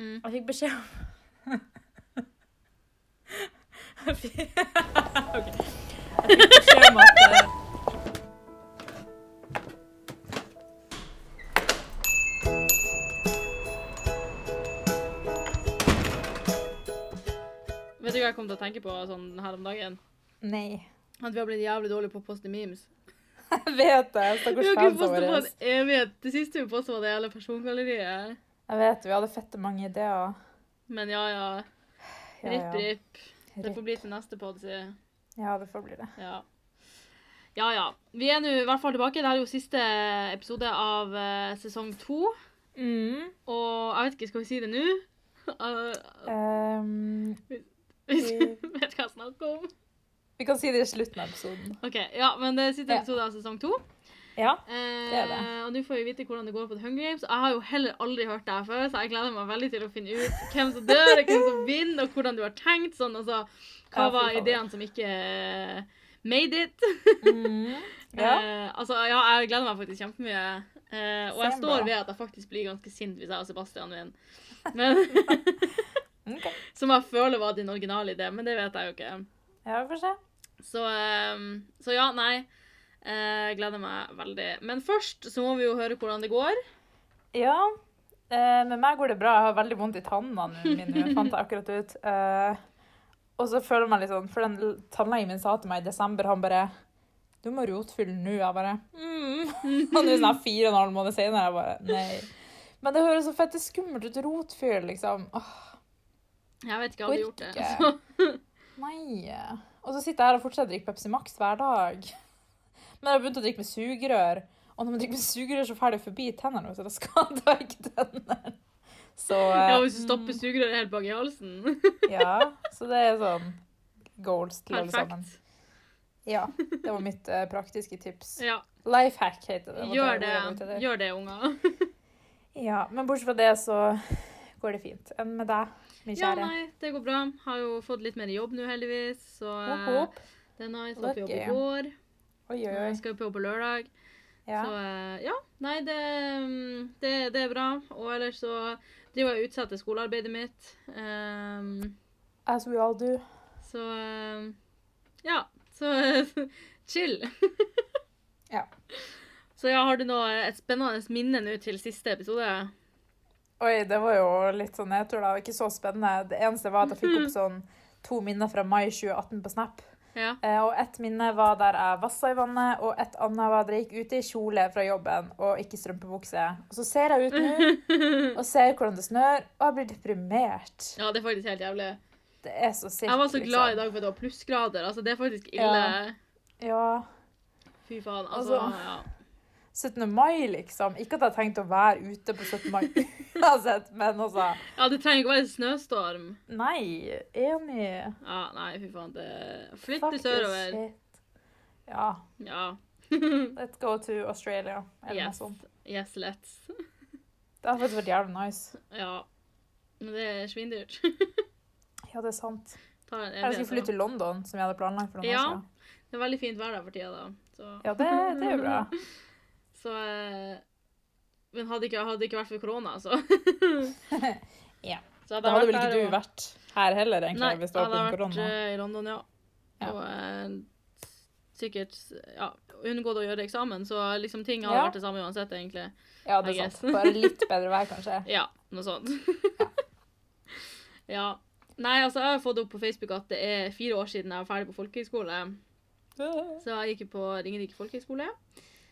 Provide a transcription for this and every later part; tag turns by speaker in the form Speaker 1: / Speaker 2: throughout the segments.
Speaker 1: Mm.
Speaker 2: Jeg fikk beskjed om Jeg fikk Ok. Jeg fikk beskjed om at eh,
Speaker 1: Vet du hva jeg kom til å tenke på sånn her om dagen?
Speaker 3: Nei.
Speaker 1: At vi har blitt jævlig dårlige på å poste memes.
Speaker 3: Jeg vet det.
Speaker 1: Vi
Speaker 3: Stakkars
Speaker 1: har ikke
Speaker 3: fans
Speaker 1: postet på
Speaker 3: våre.
Speaker 1: en evighet. Det siste vi postet var det hele persongalleriet.
Speaker 3: Jeg vet, vi hadde fette mange ideer.
Speaker 1: Men ja, ja.
Speaker 3: Ja,
Speaker 1: Ripp,
Speaker 3: ja.
Speaker 1: ripp. Det får bli til neste podd, si.
Speaker 3: ja, det får bli det.
Speaker 1: Ja. Ja, ja. Vi er nå i hvert fall tilbake. Dette er jo siste episode av eh, sesong to.
Speaker 3: Mm.
Speaker 1: Og jeg vet ikke, skal vi si det nå? Eh,
Speaker 3: Ehm,
Speaker 1: Hvis vi vet hva jeg snakker om.
Speaker 3: vi kan si det i slutten av episoden.
Speaker 1: Ok, ja, men det er siste
Speaker 3: Ja.
Speaker 1: episode av sesong to.
Speaker 3: Ja.
Speaker 1: Eh,
Speaker 3: Det er det.
Speaker 1: Og nå får vi vite hvordan det går på The Hunger Games. Jeg har jo heller aldri hørt det her før, så jeg gleder meg veldig til å finne ut hvem som dør, og hvem som vinner, og hvordan du har tenkt. sånn, altså,
Speaker 3: Ja,
Speaker 1: Hva
Speaker 3: fy
Speaker 1: var
Speaker 3: faen.
Speaker 1: ideene som ikke eh, made it?
Speaker 3: Mm. Ja.
Speaker 1: Eh, altså, ja, jeg gleder meg faktisk kjempemye. Eh, og
Speaker 3: Same,
Speaker 1: jeg står
Speaker 3: bro.
Speaker 1: ved at jeg faktisk blir ganske sint hvis jeg og Sebastian vinner. Men,
Speaker 3: Ok.
Speaker 1: som jeg føler var din originale idé, men det vet jeg jo ikke.
Speaker 3: Ja, vi får se.
Speaker 1: Så, ehm, så ja, nei. Eh, gleder meg veldig. Men først så må vi jo høre hvordan det går.
Speaker 3: Ja. Eh, med meg går det bra. Jeg har veldig vondt i tannene mine, nå, fant jeg akkurat ut. Eh, og så føler man litt sånn For den l- tannlegen min sa til meg i desember, han bare Du må rotfylle nå. Jeg bare mm. Og nå sånn her fire og en halv måned senere, jeg bare Nei. Men det høres så fette skummelt ut. Rotfyll, liksom. Åh,
Speaker 1: Jeg vet ikke, jeg hadde gjort
Speaker 3: Orker
Speaker 1: det. altså.
Speaker 3: ikke.
Speaker 1: Så,
Speaker 3: nei. Og så sitter jeg her og fortsetter å drikke Pepsi Max hver dag. Men jeg har begynt å drikke med sugerør. Og når man drikker med sugerør, så fer det forbi tennene, så det skader ikke tennene. Så eh,
Speaker 1: ja, hvis du stopper sugerøret helt bak i halsen.
Speaker 3: Ja, så det er sånn goals til alle sammen.
Speaker 1: Perfekt.
Speaker 3: Ja, det var mitt eh, praktiske tips.
Speaker 1: Ja,
Speaker 3: Life hack heter det. var
Speaker 1: gjør
Speaker 3: ordet jeg var ute
Speaker 1: det.
Speaker 3: etter.
Speaker 1: Gjør det, unger.
Speaker 3: Ja, men bortsett fra det så går det fint. Enn med deg, min
Speaker 1: Ja,
Speaker 3: kjære.
Speaker 1: nei, det går bra. Har jo fått litt mer jobb nå, heldigvis. Så
Speaker 3: Hopp,
Speaker 1: eh,
Speaker 3: hopp.
Speaker 1: det er nice. Var på jobb i
Speaker 3: Lucky.
Speaker 1: går.
Speaker 3: Oi, oi,
Speaker 1: Jeg
Speaker 3: oi.
Speaker 1: skal jo på jobb på lørdag.
Speaker 3: Ja.
Speaker 1: Så eh, ja, nei, det, mm, det, det er bra. Og ellers så driver jeg og utsetter skolearbeidet mitt. Ehm,
Speaker 3: As we all do.
Speaker 1: så eh, ja. Så eh, chill.
Speaker 3: Ja.
Speaker 1: Så ja, har du nå et spennende minne nå til siste episode?
Speaker 3: Oi, det var jo litt sånn nedtur, da. Ikke så spennende. Det eneste var at jeg fikk opp sånn to minner fra mai 2018 på Snap.
Speaker 1: Mhm. Ja.
Speaker 3: Eh, Og ett minne var der jeg vassa i vannet, og et annet var der jeg gikk ute i kjole fra jobben og ikke strømpebukse. Og så ser jeg ut nå og ser hvordan det snør, og jeg blir deprimert.
Speaker 1: ja, det er faktisk helt jævlig.
Speaker 3: Det er så liksom. sikkert.
Speaker 1: Jeg var så glad i dag for at det var plussgrader. Altså, det er faktisk ille.
Speaker 3: Ja. Ja.
Speaker 1: Fy faen. Altså,
Speaker 3: Altså.
Speaker 1: ja.
Speaker 3: 17. mai, liksom. Ikke at jeg tenkte å være ute på 17. mai uansett, men altså
Speaker 1: ja, det trenger ikke å være snøstorm.
Speaker 3: Nei. Enig.
Speaker 1: Ja, nei, fy faen. Det... Flytt
Speaker 3: Fuck
Speaker 1: til
Speaker 3: this
Speaker 1: sørover.
Speaker 3: shit. Ja.
Speaker 1: Ja.
Speaker 3: Let's go to Australia. Eller noe
Speaker 1: Yes.
Speaker 3: sånt.
Speaker 1: Yes, let's.
Speaker 3: Det hadde faktisk vært jævlig nice.
Speaker 1: Ja. Men det er svindyrt.
Speaker 3: Ja, det er sant.
Speaker 1: Tar en
Speaker 3: Eller jeg
Speaker 1: evighet,
Speaker 3: skulle flytte
Speaker 1: da.
Speaker 3: til London, som vi hadde planlagt for noen år
Speaker 1: Ja.
Speaker 3: siden.
Speaker 1: Det er veldig fint vær der for tida, da. Så,
Speaker 3: Ja, det, det er jo bra.
Speaker 1: så eh, Men hadde ikke, hadde ikke vært for korona, altså.
Speaker 3: Ja.
Speaker 1: Så hadde
Speaker 3: Da hadde
Speaker 1: jeg vært
Speaker 3: vel ikke
Speaker 1: der og-
Speaker 3: du vært her heller, egentlig,
Speaker 1: Nei,
Speaker 3: hvis det var
Speaker 1: hadde
Speaker 3: pga.
Speaker 1: jeg vært
Speaker 3: korona.
Speaker 1: eh, i London, ja.
Speaker 3: Ja.
Speaker 1: Og eh, sikkert ja, unngått å gjøre eksamen, så liksom ting hadde
Speaker 3: Ja.
Speaker 1: vært det samme uansett, egentlig.
Speaker 3: Ja,
Speaker 1: I
Speaker 3: det er
Speaker 1: guess.
Speaker 3: sant. Bare litt bedre vær, kanskje.
Speaker 1: Ja, noe sånt. ja. Nei, altså, jeg har fått opp på Facebook at det er fire år siden jeg var ferdig på folkehøyskole. Så jeg gikk jo på Ringerike folkehøgskole.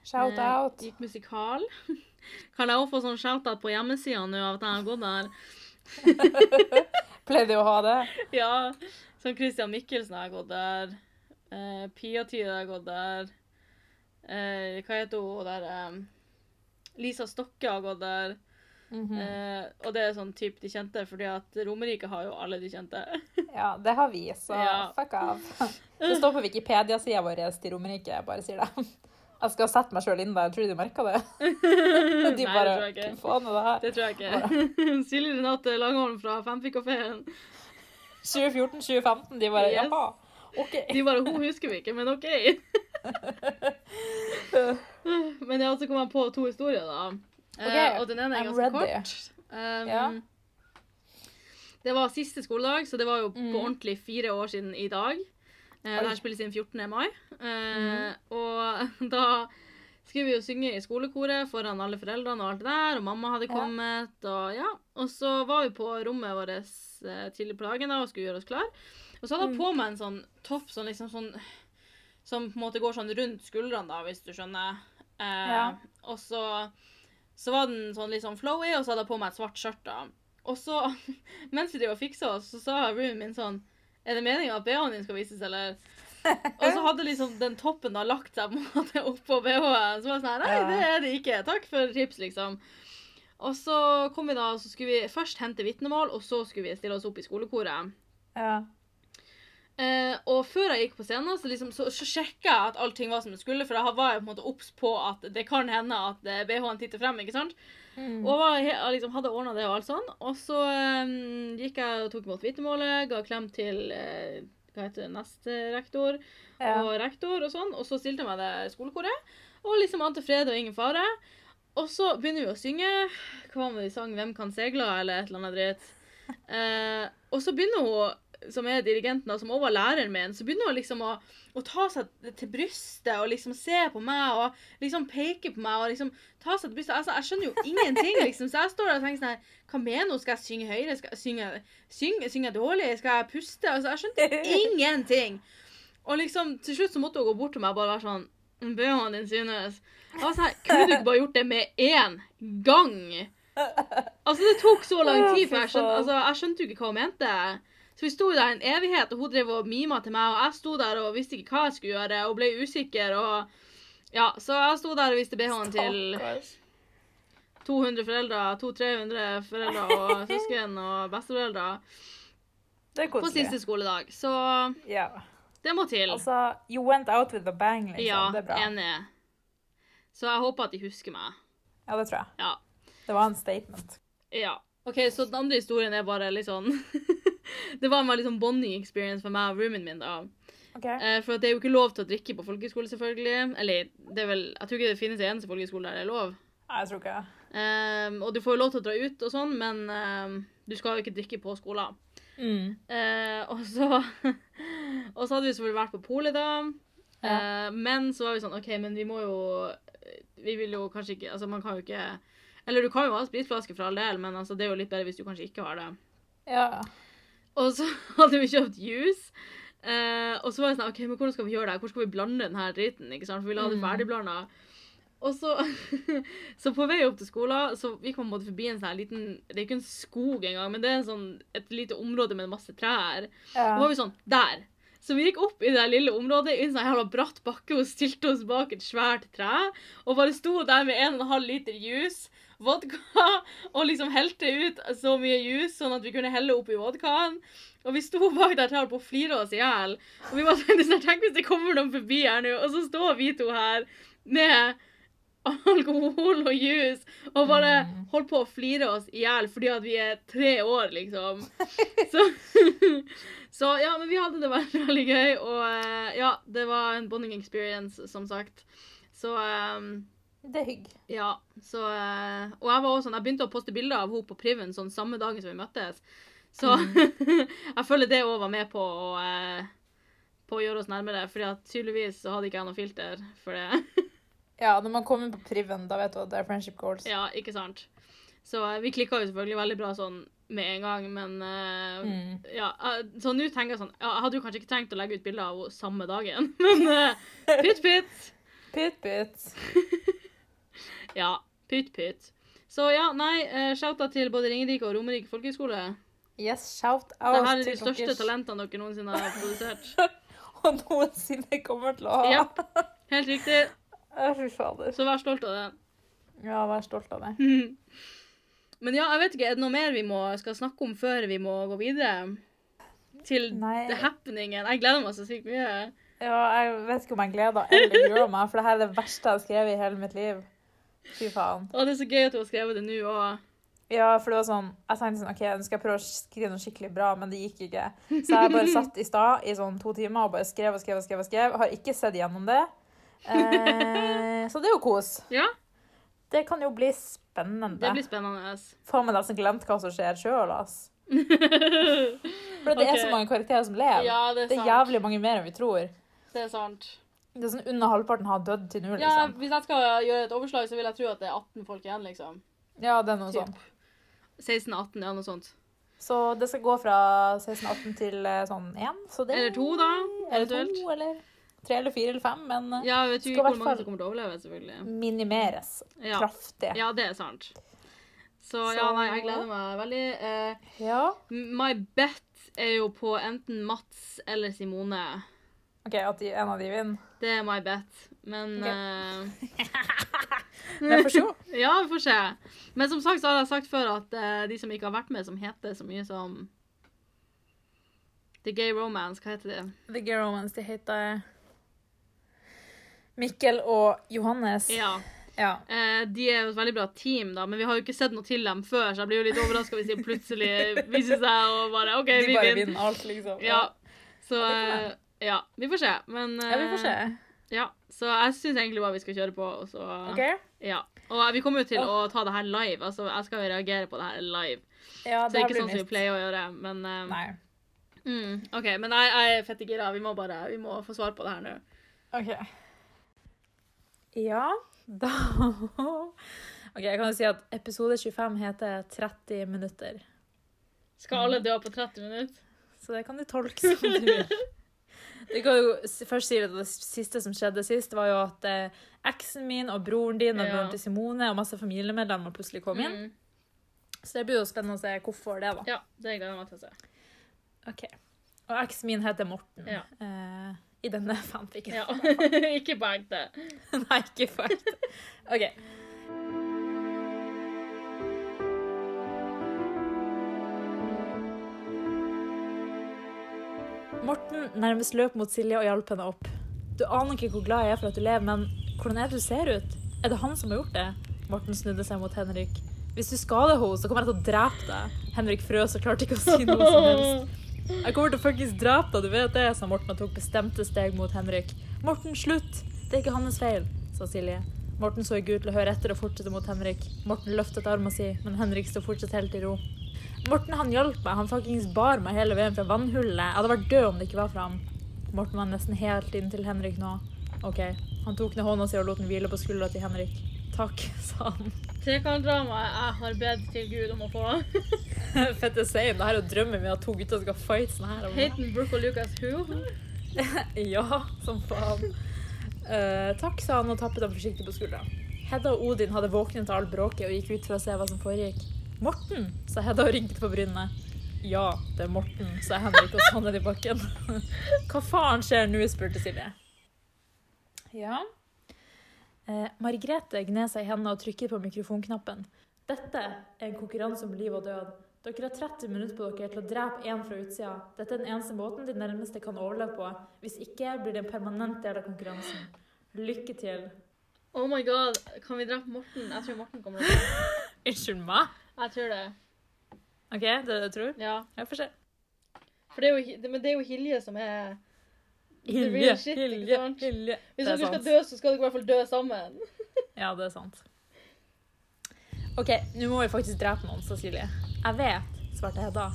Speaker 3: Shout
Speaker 1: Eh,
Speaker 3: out.
Speaker 1: Gikk musikal. Kan jeg også få sånn shout-out på hjemmesida nå av at jeg har gått der?
Speaker 3: Pleide jo å ha det.
Speaker 1: Ja, sånn Christian Mikkelsen har gått der. Eh, Pia Tyde har gått der. Eh, hva heter hun der eh, Lisa Stokke har gått der.
Speaker 3: Mhm.
Speaker 1: Eh, og det er sånn typ de kjente, fordi at Romerike har jo alle de kjente.
Speaker 3: Ja, det har vi, så
Speaker 1: Ja.
Speaker 3: fuck av. Det står på Wikipedia-sida vår til Romerike, jeg bare sier det. Jeg skal sette meg sjøl inn der, jeg tror de merka det.
Speaker 1: Nei,
Speaker 3: De
Speaker 1: det
Speaker 3: bare
Speaker 1: tror jeg
Speaker 3: Hva
Speaker 1: ikke.
Speaker 3: faen er det her?
Speaker 1: Det tror jeg ikke. Silje Renate Langholm fra Fanfikafeen.
Speaker 3: 2014-2015, de bare
Speaker 1: Yes.
Speaker 3: jaha. OK.
Speaker 1: De bare Hun husker vi ikke, men OK. Men ja, så kom jeg på to historier, da. Eh,
Speaker 3: Ok,
Speaker 1: og den ene er
Speaker 3: I'm
Speaker 1: ganske
Speaker 3: ready.
Speaker 1: kort. Um,
Speaker 3: Ja.
Speaker 1: Det var siste skoledag, så det var jo
Speaker 4: Mm.
Speaker 1: på ordentlig fire år siden i dag. Eh,
Speaker 4: Oi. Mm.
Speaker 1: det her spilles inn 14. mai. Eh, Og da skulle vi jo synge i skolekoret foran alle foreldrene og alt det der, og mamma hadde
Speaker 4: Ja.
Speaker 1: kommet, og ja. Og så var vi på rommet vårt eh, tidlig på dagen da, og skulle gjøre oss klar. Og så
Speaker 4: Mm.
Speaker 1: hadde jeg på meg en sånn topp sånn liksom sånn som på en måte går sånn rundt skuldrene, da, hvis du skjønner. Eh,
Speaker 4: Ja.
Speaker 1: Og så, så var den sånn litt sånn flowy, og så hadde jeg på meg et svart skjørt. da. Og så, mens vi drev og fiksa oss, så sa roomien min sånn Er det meninga at BH-en din skal vises, eller? Og så hadde liksom den toppen da lagt seg på en måte oppå BH-en. Så var jeg sånn her, Nei,
Speaker 4: Ja.
Speaker 1: det er det ikke. Takk for tips, liksom. Og så kom vi da, og så skulle vi først hente vitnemål, og så skulle vi stille oss opp i skolekoret.
Speaker 4: Ja.
Speaker 1: Eh, og før jeg gikk på scenen, så, liksom, så, så sjekka jeg at allting var som det skulle. For jeg var jo på en måte obs på at det kan hende at eh, BH-en titter frem. ikke sant?
Speaker 3: Hmm. Mm.
Speaker 1: Og jeg var, he- jeg liksom, hadde ordna det og alt sånn. Og så eh, gikk jeg og tok imot vitnemålet, ga klem til eh, hva heter det, neste rektor
Speaker 4: Ja.
Speaker 1: og rektor og sånn. Og så stilte jeg meg det skolekoret. Og liksom ante fred og ingen fare. Og så begynner vi å synge. Hva var det vi sang? 'Hvem kan segla?' eller et eller annet dritt. Eh, og så begynner hun, som er dirigenten, da, som også var læreren min, så begynner hun liksom å, å ta seg til brystet og liksom se på meg og liksom peke på meg og liksom ta seg til brystet. Altså, jeg skjønner jo ingenting, liksom. Så jeg står der og tenker sånn her Hva mener hun? Skal jeg synge høyere? Skal jeg synge, synge, synge dårlig? Skal jeg puste? Altså, jeg skjønte ingenting. Og liksom, til slutt så måtte hun gå bort til meg og bare være sånn «Mm, BH-en din synes. Jeg var sånn her, Kunne du ikke bare gjort det med én gang? Altså, det tok så lang
Speaker 4: Å,
Speaker 1: tid
Speaker 4: fy
Speaker 1: før jeg skjønte
Speaker 4: faen.
Speaker 1: altså, Jeg skjønte jo ikke hva hun mente. Så vi sto jo der en evighet, og hun drev og mima til meg, og jeg sto der og visste ikke hva jeg skulle gjøre, og ble usikker, og Ja, så jeg sto der og viste BH-en til
Speaker 4: Stakkars.
Speaker 1: 200 foreldre, 200-300 foreldre og søsken og besteforeldre
Speaker 4: Det er
Speaker 1: på
Speaker 4: koselig.
Speaker 1: siste skoledag. Så
Speaker 4: Ja.
Speaker 1: det må til.
Speaker 4: Altså, you went out with a bang, liksom.
Speaker 1: Ja,
Speaker 4: det er bra.
Speaker 1: enig. Så jeg håper at de husker meg.
Speaker 4: Ja, det tror jeg.
Speaker 1: Ja.
Speaker 4: Det var en statement.
Speaker 1: ja. OK, så den andre historien er bare litt sånn Det var en veldig sånn bonding experience for meg og roomien min, da.
Speaker 4: OK.
Speaker 1: Eh, for at det er jo ikke lov til å drikke på folkehøyskole, selvfølgelig. Eller det er vel Jeg tror ikke det finnes en eneste folkehøyskole der det er lov.
Speaker 4: Nei, jeg tror ikke
Speaker 1: Ehm, og du får jo lov til å dra ut og sånn, men ehm, du skal jo ikke drikke på skolen.
Speaker 3: Hmm.
Speaker 4: mm.
Speaker 1: Eh, og, så, og så hadde vi selvfølgelig vært på polet, da. Eh, men så var vi sånn OK, men vi må jo Vi vil jo kanskje ikke Altså, man kan jo ikke Eller du kan jo ha spritflaske for all del, men altså, det er jo litt bedre hvis du kanskje ikke har det.
Speaker 4: Ja.
Speaker 1: Og så hadde vi kjøpt juice. Eh, og så var jeg sånn OK, men hvordan skal vi gjøre det? her? Hvor skal vi blande den her driten? Ikke sant? For vi la det
Speaker 4: Mm.
Speaker 1: ferdigblanda. Og så, så på vei opp til skolen så gikk man på en måte forbi en sånn her liten Det er ikke en skog engang, men det er en sånn, et lite område med masse trær. Så var
Speaker 4: ja.
Speaker 1: vi sånn Der! Så vi gikk opp i det lille området i en sånn jævla bratt bakke og stilte oss bak et svært tre og bare sto der med en og en halv liter juice, vodka, og liksom helte ut så mye juice sånn at vi kunne helle oppi vodkaen. Og vi sto bak der treet og flira oss i hjel. Og vi bare tenkte sånn Tenk hvis det kommer noen forbi her nå, og så står vi to her med alkohol og juice og bare holdt på å flire oss i hjel fordi at vi er tre år, liksom. Så, så ja, men vi hadde det veldig, veldig gøy, og eh, ja, det var en bonding experience, som sagt. Så eh,
Speaker 4: Det er hygg.
Speaker 1: ja, så eh, Og jeg var også sånn, jeg begynte å poste bilder av henne på Priven sånn samme dagen som vi møttes. Så jeg føler det òg var med på å eh, på å gjøre oss nærmere, fordi at tydeligvis så hadde ikke jeg noe filter for det.
Speaker 4: Ja, når man kommer på priven, da vet du at det er friendship goals.
Speaker 1: Ja, ikke sant. Så eh, vi klikka jo selvfølgelig veldig bra sånn med en gang, men eh,
Speaker 3: Hmm.
Speaker 4: Mm.
Speaker 1: ja, eh, Så nå tenker jeg sånn ja, Jeg hadde jo kanskje ikke trengt å legge ut bilder av henne samme dagen, men eh, pytt, pytt.
Speaker 4: Pytt, pytt.
Speaker 1: Ja, pytt, pytt. Så ja, nei, eh, shouta til både Ringerike og Romerike folkehøgskole.
Speaker 4: Yes, shout
Speaker 1: Det
Speaker 4: out
Speaker 1: her er de
Speaker 4: til
Speaker 1: største
Speaker 4: dere.
Speaker 1: talentene dere noensinne har produsert.
Speaker 4: Og noensinne kommer til å ha.
Speaker 1: Ja, helt riktig.
Speaker 4: Å, Fy fader.
Speaker 1: Så vær stolt av det.
Speaker 4: Ja, vær stolt av det.
Speaker 1: Men ja, jeg vet ikke, er det noe mer vi må, skal snakke om før vi må gå videre? Til
Speaker 4: Nei.
Speaker 1: the happeningen. Jeg gleder meg så sykt mye.
Speaker 4: Ja, jeg vet ikke om jeg gleder eller gruer meg, for det her er det verste jeg har skrevet i hele mitt liv. Fy faen.
Speaker 1: Og det er så gøy at du har skrevet det nå òg.
Speaker 4: Ja, for det var sånn, jeg tenkte sånn, ok, nå skal jeg prøve å skrive noe skikkelig bra, men det gikk ikke. Så jeg bare satt i stad i sånn to timer og bare skrev og skrev og skrev. og skrev. Har ikke sett gjennom det. Eh, så det er jo kos.
Speaker 1: Ja,
Speaker 4: Det kan jo bli spennende.
Speaker 1: det blir spennende.
Speaker 4: Faen meg nesten glemt hva som skjer sjøl, ass.
Speaker 3: For det er
Speaker 1: Ok.
Speaker 3: så mange karakterer som lever.
Speaker 1: ja, det er
Speaker 3: det
Speaker 1: sant.
Speaker 3: er jævlig mange mer enn vi tror.
Speaker 1: Det er sant.
Speaker 3: Det er sånn Under halvparten har dødd til nå,
Speaker 1: Ja,
Speaker 3: liksom.
Speaker 1: hvis jeg skal gjøre et overslag, så vil jeg tro at det er 18 folk igjen, liksom.
Speaker 3: Ja, det er noe
Speaker 1: Typ.
Speaker 3: sånt.
Speaker 1: 16-18, ja, noe sånt.
Speaker 3: Så det skal gå fra 16-18 til eh, sånn 1. Så det,
Speaker 1: Eller to, da,
Speaker 3: Eller to,
Speaker 1: eventuelt.
Speaker 3: eller tre eller fire eller fem. Men eh,
Speaker 1: Ja, jeg vet
Speaker 3: Skal
Speaker 1: jo ikke
Speaker 3: i hvert
Speaker 1: hvor mange
Speaker 3: fall- Mm.
Speaker 1: som kommer til å overleve, selvfølgelig.
Speaker 3: minimeres
Speaker 1: Ja.
Speaker 3: kraftig.
Speaker 1: ja, det er sant. Så ja,
Speaker 3: Så-
Speaker 1: nei, jeg gleder meg veldig. Eh,
Speaker 3: Ja.
Speaker 1: my bet er jo på enten Mats eller Simone.
Speaker 3: OK, at de, en av de vinner.
Speaker 1: Det er my bet. Men
Speaker 3: Ok.
Speaker 1: eh,
Speaker 3: Men for sure.
Speaker 1: Ja, vi får se. Men som sagt så har jeg sagt før at eh, de som ikke har vært med, som heter så mye som The Gay Romance, hva heter det?
Speaker 3: The Gay Romance, de heter Mikkel og Johannes.
Speaker 1: Ja.
Speaker 3: Ja.
Speaker 1: Eh, de er jo et veldig bra team, da, men vi har jo ikke sett noe til dem før, så jeg blir jo litt overraska hvis de plutselig viser seg og bare OK,
Speaker 3: De
Speaker 1: Eh, vi
Speaker 3: bare
Speaker 1: vinner.
Speaker 3: vinner alt, liksom.
Speaker 1: Ja. Så
Speaker 3: det kan
Speaker 1: eh, ja, vi får se. Men
Speaker 3: Ja, vi får se.
Speaker 1: eh, Ja, så jeg syns egentlig bare vi skal kjøre på, og så
Speaker 3: OK?
Speaker 1: Ja. Og eh, vi kommer jo til å ta det her live. Altså, jeg skal jo reagere på det her live.
Speaker 3: Ja,
Speaker 1: Så det er
Speaker 3: her
Speaker 1: ikke
Speaker 3: blir
Speaker 1: sånn som
Speaker 3: nytt.
Speaker 1: vi pleier å gjøre, men eh,
Speaker 3: Nei.
Speaker 1: mm, OK. Men jeg, jeg er fette gira. Vi må bare vi må få svar på det her nå.
Speaker 3: OK. Ja, da OK, jeg kan jo si at episode 25 heter 30 minutter.
Speaker 1: Skal
Speaker 3: Mm.
Speaker 1: alle dø på 30 minutter?
Speaker 3: Så det kan du tolke som du vil. Du kan jo s- først si at Det siste som skjedde sist, var jo at eh, eksen min og broren din og
Speaker 1: Ja.
Speaker 3: broren til Simone og masse familiemedlemmer plutselig kom inn.
Speaker 1: Mm.
Speaker 3: Så det blir jo spennende å se hvorfor det, da.
Speaker 1: Ja, det gleder jeg meg til å se.
Speaker 3: Ok. Og eksen min heter Morten.
Speaker 1: Ja.
Speaker 3: Eh, I denne fanfikken.
Speaker 1: Ja. ikke på ekte.
Speaker 3: Nei, ikke fælt. OK. Morten nærmest løp mot Silje og hjalp henne opp. Du aner ikke hvor glad jeg er for at du lever, men hvordan er det du ser ut? Er det han som har gjort det? Morten snudde seg mot Henrik. Hvis du skader henne, så kommer jeg til å drepe deg. Henrik frøs og klarte ikke å si noe som helst. Jeg kommer til å fuckings drepe deg, du vet det, sa Morten og tok bestemte steg mot Henrik. Morten, slutt! Det er ikke hans feil, sa Silje. Morten så ikke ut til å høre etter og fortsette mot Henrik. Morten løftet armen sin, men Henrik sto fortsatt helt i ro. Morten han hjalp meg, han fuckings bar meg hele veien fra vannhullet. Jeg hadde vært død om det ikke var for ham. Morten var nesten helt inntil Henrik nå. OK. Han tok ned hånda si og lot den hvile på skuldra til Henrik. Takk, sa han.
Speaker 1: Trekantdramaet jeg har bedt til Gud om å få.
Speaker 3: Fette sein, det her er jo drømmen min at to gutter skal fight sånn her.
Speaker 1: Hayden, Brooke og Lucas who?
Speaker 3: Ja, som faen. Eh, takk, sa han og tappet ham forsiktig på skuldra. Hedda og Odin hadde våknet av all bråket og gikk ut for å se hva som foregikk. Morten, sa Hedda og rynket på brynene. Ja, det er Morten, sa Henrik og så ned i bakken. Hva faen skjer nå, spurte Silje. Ja. Eh, Margrethe gned seg i hendene og trykket på mikrofonknappen. Dette er en konkurranse om liv og død. Dere har 30 minutter på dere til å drepe én fra utsida. Dette er den eneste måten de nærmeste kan overleve på. Hvis ikke blir det en permanent del av konkurransen. Lykke til.
Speaker 1: Oh my god, kan vi drepe Morten? Jeg tror Morten kommer til å dø.
Speaker 3: Unnskyld meg?
Speaker 1: Jeg tror det.
Speaker 3: OK, det er det du tror?
Speaker 1: Ja.
Speaker 3: Jeg får se.
Speaker 1: For det er jo, Hi- det- men det er jo Hilje som er The real
Speaker 3: Hilje,
Speaker 1: shit, ikke
Speaker 3: Hilje,
Speaker 1: sant?
Speaker 3: Hilje.
Speaker 1: Hvis
Speaker 3: Det er
Speaker 1: dere skal
Speaker 3: sant.
Speaker 1: dø, så skal dere i hvert fall dø sammen.
Speaker 3: Ja, det er sant. OK, nå må vi faktisk drepe noen, sa Silje. Jeg vet, svarte Hedda.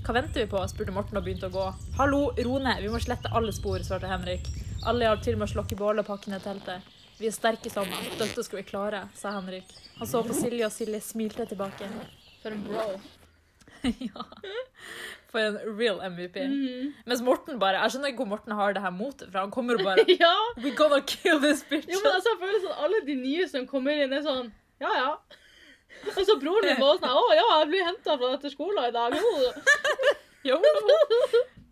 Speaker 3: Hva venter vi på? spurte Morten og begynte å gå. Hallo, ro ned, vi må slette alle spor, svarte Henrik. Alle hjalp til med å slokke bålet og pakke ned teltet. Vi er sterke sammen, dette skal vi klare, sa Henrik. Han så på Silje, og Silje smilte tilbake.
Speaker 1: For en bro.
Speaker 3: ja. For en real MVP.
Speaker 1: Mhm.
Speaker 3: Mens Morten bare Jeg skjønner ikke hvor Morten har det her motet fra. Han kommer og bare
Speaker 1: Ja!
Speaker 3: We gonna kill this bitch.
Speaker 1: Jo, men altså, jeg føler sånn alle de nye som kommer inn, er sånn Ja, ja. Og så broren min var sånn Å ja, jeg blir henta fra dette skolen i dag. Jo.
Speaker 3: Jo.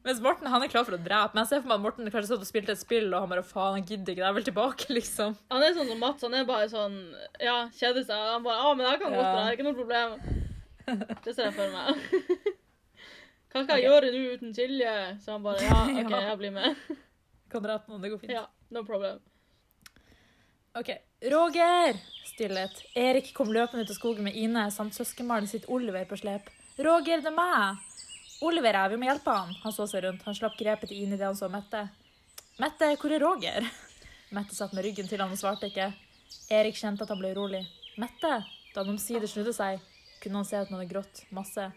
Speaker 3: Mens Morten han er klar for å drepe. Men jeg ser for meg at Morten kanskje satt og spilte et spill, og han bare faen, han gidder ikke, jeg vil tilbake, liksom.
Speaker 1: Han er sånn som Mats. Han er bare sånn Ja, kjeder seg. Han bare Å, men jeg kan
Speaker 3: Ja.
Speaker 1: godt dra. Det er ikke noe problem. Det ser jeg for meg. Hva skal jeg gjøre nå uten Silje? Så han bare Ja, OK,
Speaker 3: Ja.
Speaker 1: jeg blir med.
Speaker 3: Kan drepe noen, det går fint.
Speaker 1: Ja, no problem.
Speaker 3: OK. Roger! Stillhet. Erik kom løpende ut av skogen med Ine samt søskenbarnet sitt Oliver på slep. Roger, det er meg! Oliver er her, vi må hjelpe han. Han så seg rundt. Han slapp grepet til Ine idet han så Mette. Mette, hvor er Roger? Mette satt med ryggen til han og svarte ikke. Erik kjente at han ble urolig. Mette! Da han omsider snudde seg, kunne han se at han hadde grått masse.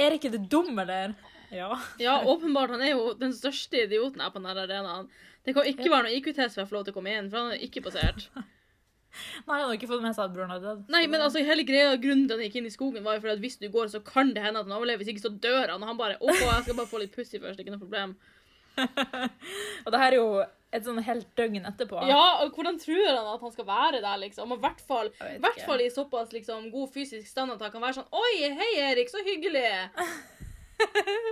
Speaker 3: Er ikke det dum, eller? Ja.
Speaker 1: Ja, åpenbart. Han er jo den største idioten her på denne arenaen. Det kan ikke være noe IQ-test for å få lov til å komme inn, for han er ikke passert.
Speaker 3: Nei, han hadde ikke fått med seg at broren hadde dødd.
Speaker 1: Nei, men altså, hele greia grunnen til at han gikk inn i skogen, var jo fordi at hvis du går, så kan det hende at han overlever. Hvis ikke, så dør han. Og han bare Å, jeg skal bare få litt pussy først. Det er ikke noe problem.
Speaker 3: Og det her er jo et sånn helt døgn etterpå.
Speaker 1: Ja, og hvordan tror han at han skal være der, liksom? Og i hvert fall,
Speaker 3: Jeg vet
Speaker 1: i hvert
Speaker 3: ikke.
Speaker 1: fall i såpass liksom, god fysisk stand at han kan være sånn Oi, hei, Erik, så hyggelig!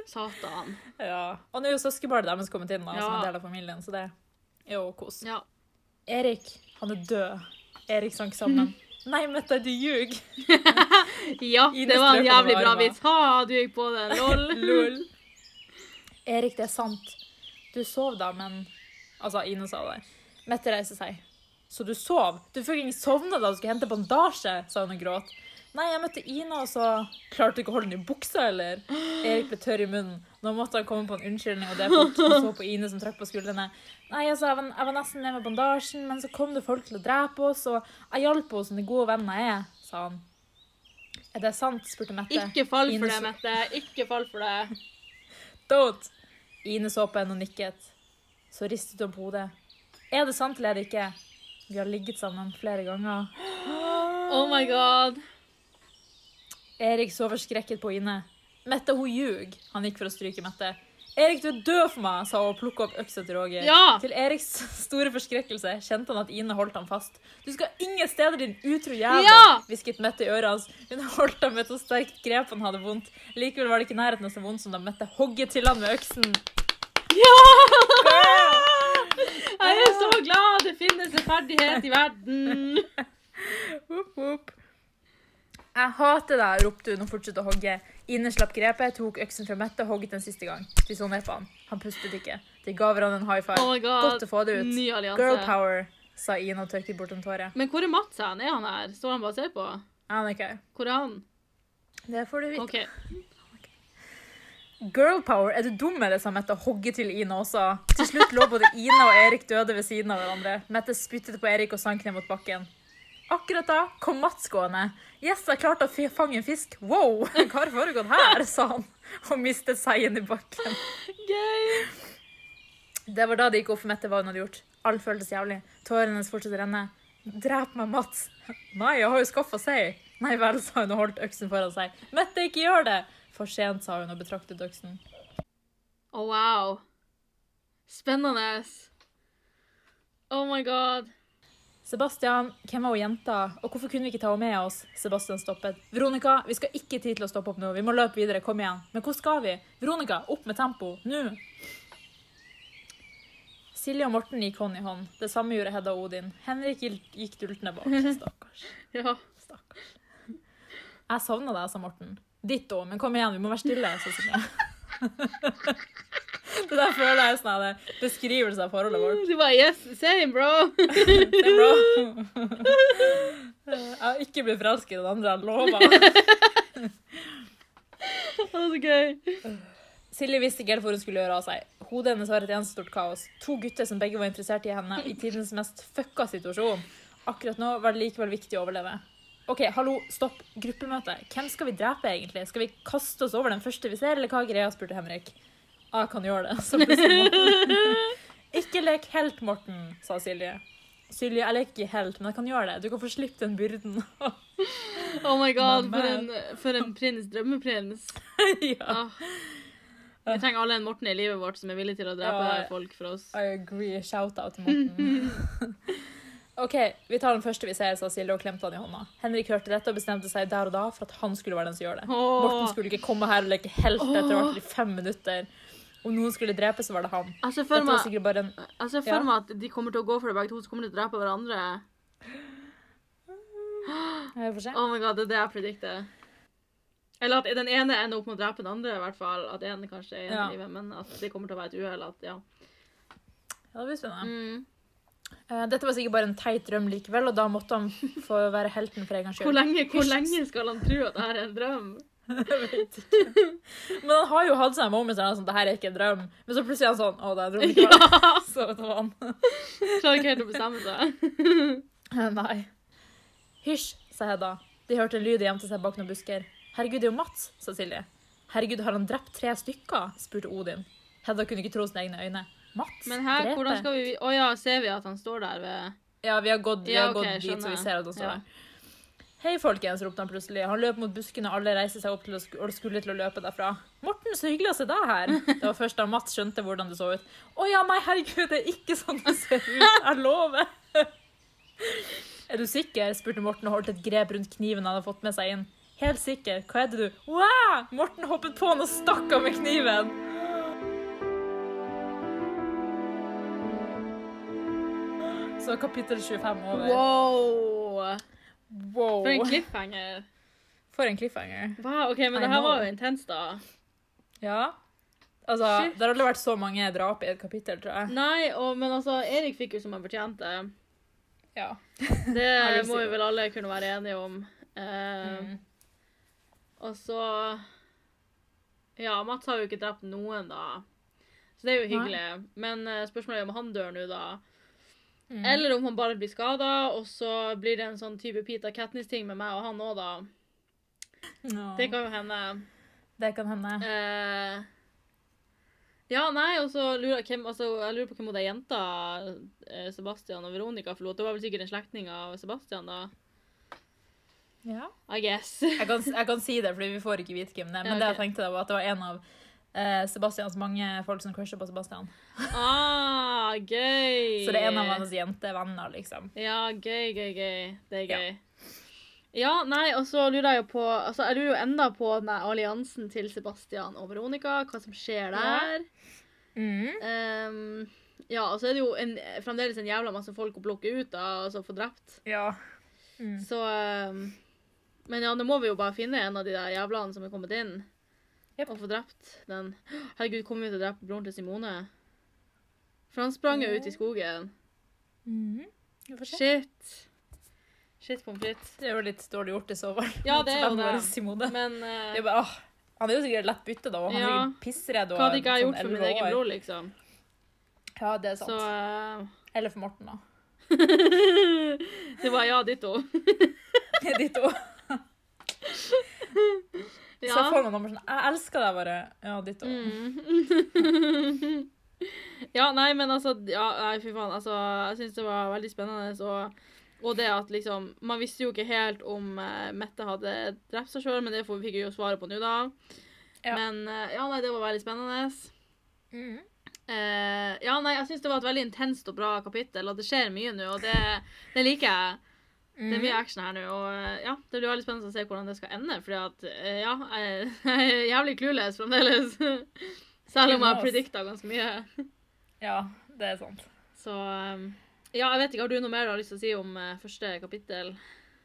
Speaker 1: Satan.
Speaker 3: Ja. Og nå er jo søskenbarnet deres kommet inn da, som
Speaker 1: Ja.
Speaker 3: en del av familien, så det er jo kos.
Speaker 1: Ja.
Speaker 3: Erik, han er død. Erik sank sammen. Nei, Mette, du ljug!
Speaker 1: ja,
Speaker 3: Ines
Speaker 1: det var
Speaker 3: løper
Speaker 1: en jævlig
Speaker 3: med
Speaker 1: bra
Speaker 3: armen.
Speaker 1: vits. Ha, du gikk på den. Lol.
Speaker 3: Lol. Erik, det er sant. Du sov da, men Altså, Ine sa det. Mette reiser seg. Så du sov? Du fucking sovna da du skulle hente bandasje, sa hun og gråt. Nei, jeg møtte Ina, og så klarte du ikke å holde den i buksa, eller? Erik ble tørr i munnen. Nå måtte han komme på en unnskyldning, og det er folk som så på Ine som trakk på skuldrene. Nei, altså, jeg var, jeg var nesten ned med bandasjen, men så kom det folk til å drepe oss, og jeg hjalp henne som den gode vennen jeg er, sa han. Er det sant? spurte Mette.
Speaker 1: Ikke fall for
Speaker 3: Ines-
Speaker 1: det, Mette. Ikke fall for det.
Speaker 3: Don't! Ine så på henne og nikket. Så ristet hun på hodet. Er det sant eller er det ikke? Vi har ligget sammen flere ganger.
Speaker 1: Oh my god.
Speaker 3: Erik så forskrekket på Ine. Mette, hun ljug. Han gikk for å stryke Mette. Erik, du er død for meg, sa hun og plukket opp øksa til Roger.
Speaker 1: Ja!
Speaker 3: Til Eriks store forskrekkelse kjente han at Ine holdt ham fast. Du skal ingen steder, din utro jævel,
Speaker 1: Ja!
Speaker 3: hvisket Mette i øret hans. Hun holdt ham med et så sterkt grep han hadde vondt. Likevel var det ikke i nærheten av så vondt som da Mette hogget til han med øksen.
Speaker 1: Jeg er så glad det finnes en ferdighet i verden.
Speaker 3: Whoop, whoop. Jeg hater deg, ropte hun og fortsatte å hogge. Ine slapp grepet, tok øksen fra Mette og hogget en siste gang. De så ned på han. Han pustet ikke. De ga hverandre en high five.
Speaker 1: Oh my god.
Speaker 3: Godt å få det ut.
Speaker 1: Ny allianse.
Speaker 3: Girl power, sa Ine og tørket bort en tåre.
Speaker 1: Men hvor er Mats hen? Er han her? Står han bare og ser på?
Speaker 3: Aner ikke.
Speaker 1: Hvor er han?
Speaker 3: Det får du vite.
Speaker 1: OK.
Speaker 3: Girl power, er du dum med det, sa Mette og hogget til Ine også. Til slutt lå både Ine og Erik døde ved siden av hverandre. Mette spyttet på Erik og sank ned mot bakken. Akkurat da kom Mats gående. Yes, jeg klarte å fi- fange en fisk. Wow, hva har foregått her, sa han og mistet seien i bakken.
Speaker 1: Gøy.
Speaker 3: Det var da det gikk opp for Mette hva hun hadde gjort. Alt føltes jævlig. Tårene hennes fortsatte å renne. Drep meg, Mats. Nei, jeg har jo skaffa sei. Nei vel, sa hun og holdt øksen foran seg. Mette, ikke gjør det! For sent, sa hun og betraktet øksen.
Speaker 1: Oh, wow. Spennende. Oh my god.
Speaker 3: Sebastian, hvem var hun jenta, og hvorfor kunne vi ikke ta henne med oss? Sebastian stoppet. Veronica, vi skal ikke ha tid til å stoppe opp nå. Vi må løpe videre. Kom igjen. Men hvor skal vi? Veronica, opp med tempo. Nå! Silje og Morten gikk hånd i hånd. Det samme gjorde Hedda og Odin. Henrik gil- gikk dultende bak. Stakkars.
Speaker 1: Ja.
Speaker 3: Stakkars. Jeg savna deg, sa Morten. Ditt òg, men kom igjen, vi må være stille. sa Silje. Det der føler jeg er sånn en beskrivelse av forholdet vårt.
Speaker 1: Du bare Yes, same, bro.
Speaker 3: Det er bra. Jeg har ikke blitt forelsket i den andre, jeg lover.
Speaker 1: Å, så gøy.
Speaker 3: Silje visste ikke helt hvor hun skulle gjøre av seg. Hodet hennes var et eneste stort kaos. To gutter som begge var interessert i henne, i tidens mest fucka situasjon. Akkurat nå var det likevel viktig å overleve. OK, hallo, stopp. Gruppemøte. Hvem skal vi drepe, egentlig? Skal vi kaste oss over den første vi ser, eller hva er greia? spurte Henrik. Jeg kan gjøre det, så plutselig Morten. Ikke lek helt, Morten, sa Silje. Silje, jeg leker ikke helt, men jeg kan gjøre det. Du kan få slippe den byrden.
Speaker 1: Oh my god,
Speaker 3: My
Speaker 1: for en, for en prins. Drømmeprins.
Speaker 3: ja.
Speaker 1: Ah. Vi trenger alle en Morten i livet vårt som er villig til å drepe
Speaker 3: Ja.
Speaker 1: folk for oss.
Speaker 3: I agree. Shout-out til Morten. OK, vi tar den første vi ser, sa Silje og klemte han i hånda. Henrik hørte dette og bestemte seg der og da for at han skulle være den som gjør det.
Speaker 1: Åh.
Speaker 3: Morten skulle ikke komme her og leke helt etter hvert i fem minutter. Om noen skulle drepe, så var det han.
Speaker 1: Jeg ser for
Speaker 3: Dette var
Speaker 1: meg
Speaker 3: sikkert bare en
Speaker 1: Jeg ser for
Speaker 3: Ja.
Speaker 1: meg at de kommer til å gå for det begge to, så kommer de til å drepe hverandre.
Speaker 3: Jeg får se.
Speaker 1: Oh my god, det er det jeg predikter. Eller at den ene ender opp med å drepe den andre, i hvert fall. At en kanskje er igjen
Speaker 3: Ja.
Speaker 1: i livet, men at det kommer til å være et uhell. At, ja.
Speaker 3: Ja, det blir spennende.
Speaker 1: mm.
Speaker 3: Eh, Dette var sikkert bare en teit drøm likevel, og da måtte han få være helten for en gangs
Speaker 1: hvor,
Speaker 3: skyld.
Speaker 1: lenge, hvor lenge skal han tro at dette er en drøm?
Speaker 3: Jeg vet ikke. Men han har jo hatt seg moments der han er sånn 'Det her er ikke en drøm', men så plutselig er han sånn 'Å, det er en drøm likevel'. Så vet du hva han
Speaker 1: Klarer ikke helt å bestemme seg.
Speaker 3: Nei. Hysj, sa Hedda. De hørte en lyd og gjemte seg bak noen busker. Herregud, det er jo Mats, sa Silje. 'Herregud, har han drept tre stykker?' spurte Odin. Hedda kunne ikke tro sine egne øyne. Mats
Speaker 1: Men her,
Speaker 3: dreper.
Speaker 1: hvordan skal vi vi- Å ja, ser vi at han står der ved
Speaker 3: Ja, vi har gått, vi
Speaker 1: Ja,
Speaker 3: har
Speaker 1: ok,
Speaker 3: gått dit, så vi
Speaker 1: skjønner.
Speaker 3: ser at han står
Speaker 1: Ja.
Speaker 3: der. Hei, folkens, ropte han plutselig. Han løp mot buskene, og alle reiste seg opp til å sk og skulle til å løpe derfra. Morten, så hyggelig å se deg her. Det var først da Mats skjønte hvordan det så ut. Å ja, nei, herregud, det er ikke sånn det ser ut. Jeg lover. Er du sikker? spurte Morten og holdt et grep rundt kniven han hadde fått med seg inn. Helt sikker. Hva er det du Wow! Morten hoppet på han og stakk av med kniven. Så kapittel 25 over.
Speaker 1: Wow!
Speaker 3: Wow.
Speaker 1: For en cliffhanger.
Speaker 3: For en cliffhanger.
Speaker 1: Wow, ok, Men
Speaker 3: I
Speaker 1: det her var
Speaker 3: know.
Speaker 1: jo intenst, da.
Speaker 3: Ja. Altså,
Speaker 1: Shit.
Speaker 3: Det har aldri vært så mange drap i et kapittel, tror jeg.
Speaker 1: Nei, og, men altså, Erik fikk jo som han fortjente.
Speaker 3: Ja.
Speaker 1: Det
Speaker 3: vil si
Speaker 1: må
Speaker 3: det.
Speaker 1: vi vel alle kunne være enige om. Eh,
Speaker 3: Mm.
Speaker 1: Og så Ja, Mats har jo ikke drept noen, da. Så det er jo
Speaker 3: Nei.
Speaker 1: hyggelig. Men eh, spørsmålet er om han dør nå, da.
Speaker 3: Mm.
Speaker 1: Eller om han bare blir skada, og så blir det en sånn type Peter Katniss-ting med meg og han òg, da.
Speaker 3: Nå.
Speaker 1: Det kan jo hende.
Speaker 3: det kan hende.
Speaker 1: Eh, ja, nei, og så lurer jeg, hvem, altså, jeg lurer på hvem hun der jenta eh, Sebastian og Veronica forlot. Det var vel sikkert en slektning av Sebastian, da.
Speaker 3: Ja.
Speaker 1: I guess.
Speaker 3: Jeg, kan, jeg kan si det, fordi vi får ikke vite hvem det er. Men
Speaker 1: Ja,
Speaker 3: det jeg
Speaker 1: ok.
Speaker 3: tenkte da, var at det var en av eh, Sebastians mange folk som crusher på Sebastian.
Speaker 1: ah, gøy!
Speaker 3: Så det er en av hans jentevenner, liksom.
Speaker 1: Ja, gøy, gøy, gøy. Det er
Speaker 3: Ja.
Speaker 1: gøy. Ja, nei, og så lurer jeg jo på altså Jeg lurer jo enda på den der alliansen til Sebastian og Veronica, hva som skjer der.
Speaker 3: Mm.
Speaker 1: Ehm, ja, og så er det jo en, fremdeles en jævla masse folk å plukke ut da, altså få drept.
Speaker 3: Ja.
Speaker 1: Så ehm, Men ja, nå må vi jo bare finne en av de der jævlene som er kommet inn,
Speaker 3: Jepp.
Speaker 1: og få drept den. Herregud, kommer vi til å drepe broren til Simone? For han sprang jo ut i skogen.
Speaker 3: Mm. Vi får se.
Speaker 1: Shit. Shit pommes frites.
Speaker 3: Det er jo litt dårlig gjort i så fall.
Speaker 1: Ja, det er jo
Speaker 3: Vennen vår,
Speaker 1: det.
Speaker 3: Simone.
Speaker 1: Men
Speaker 3: Sånn Det er
Speaker 1: eh,
Speaker 3: bare, åh, han er jo sikkert lett bytte, da. og Han er
Speaker 1: Ja.
Speaker 3: sikkert pissredd. og
Speaker 1: hva hadde ikke jeg
Speaker 3: sånn
Speaker 1: gjort for min
Speaker 3: 11
Speaker 1: egen
Speaker 3: år.
Speaker 1: bror, liksom?
Speaker 3: Ja, det er sant.
Speaker 1: Så eh,
Speaker 3: Eller for Morten, da.
Speaker 1: det var ja, ditt òg.
Speaker 3: De to. Så jeg
Speaker 1: Ja.
Speaker 3: får meg nummer sånn Jeg elsker deg bare. Ja, ditt òg.
Speaker 1: Mm. ja, nei, men altså ja, Nei, fy faen. Altså, jeg syns det var veldig spennende. Og, og det at liksom Man visste jo ikke helt om eh, Mette hadde drept seg sjøl, men det får- fikk vi jo svaret på nå, da.
Speaker 3: Ja.
Speaker 1: Men eh, ja, nei, det var veldig spennende.
Speaker 3: Mm.
Speaker 1: Eh, ja, nei, jeg syns det var et veldig intenst og bra kapittel, og det skjer mye nå, og det, det liker jeg. Det er mye action her nå, og eh, ja, det blir veldig spennende å se hvordan det skal ende. Fordi at, eh, ja, jeg jeg er jævlig clueless fremdeles. Selv om jeg har predicta ganske mye.
Speaker 3: Ja, det er sant.
Speaker 1: Så eh, ja, jeg vet ikke, har du noe mer du har lyst til å si om eh, første kapittel?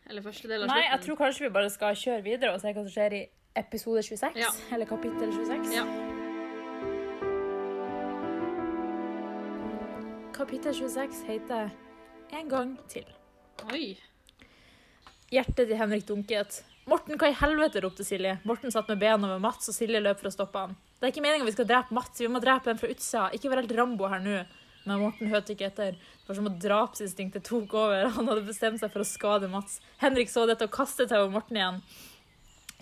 Speaker 1: Eller første del av
Speaker 3: Nei,
Speaker 1: slutten?
Speaker 3: jeg tror kanskje vi bare skal kjøre videre og se hva som skjer i episode 26.
Speaker 1: Ja.
Speaker 3: Eller kapittel 26.
Speaker 1: Ja.
Speaker 3: Kapittel 26 heter En gang til.
Speaker 1: Oi.
Speaker 3: Hjertet til Henrik dunket. Morten, hva i helvete? ropte Silje. Morten satt med bena over Mats, og Silje løp for å stoppe han. Det er ikke meningen vi skal drepe Mats, vi må drepe en fra utsida. Ikke vær helt Rambo her nå. Men Morten hørte ikke etter. Det var som at drapsinstinktet tok over. Han hadde bestemt seg for å skade Mats. Henrik så dette og kastet seg over Morten igjen.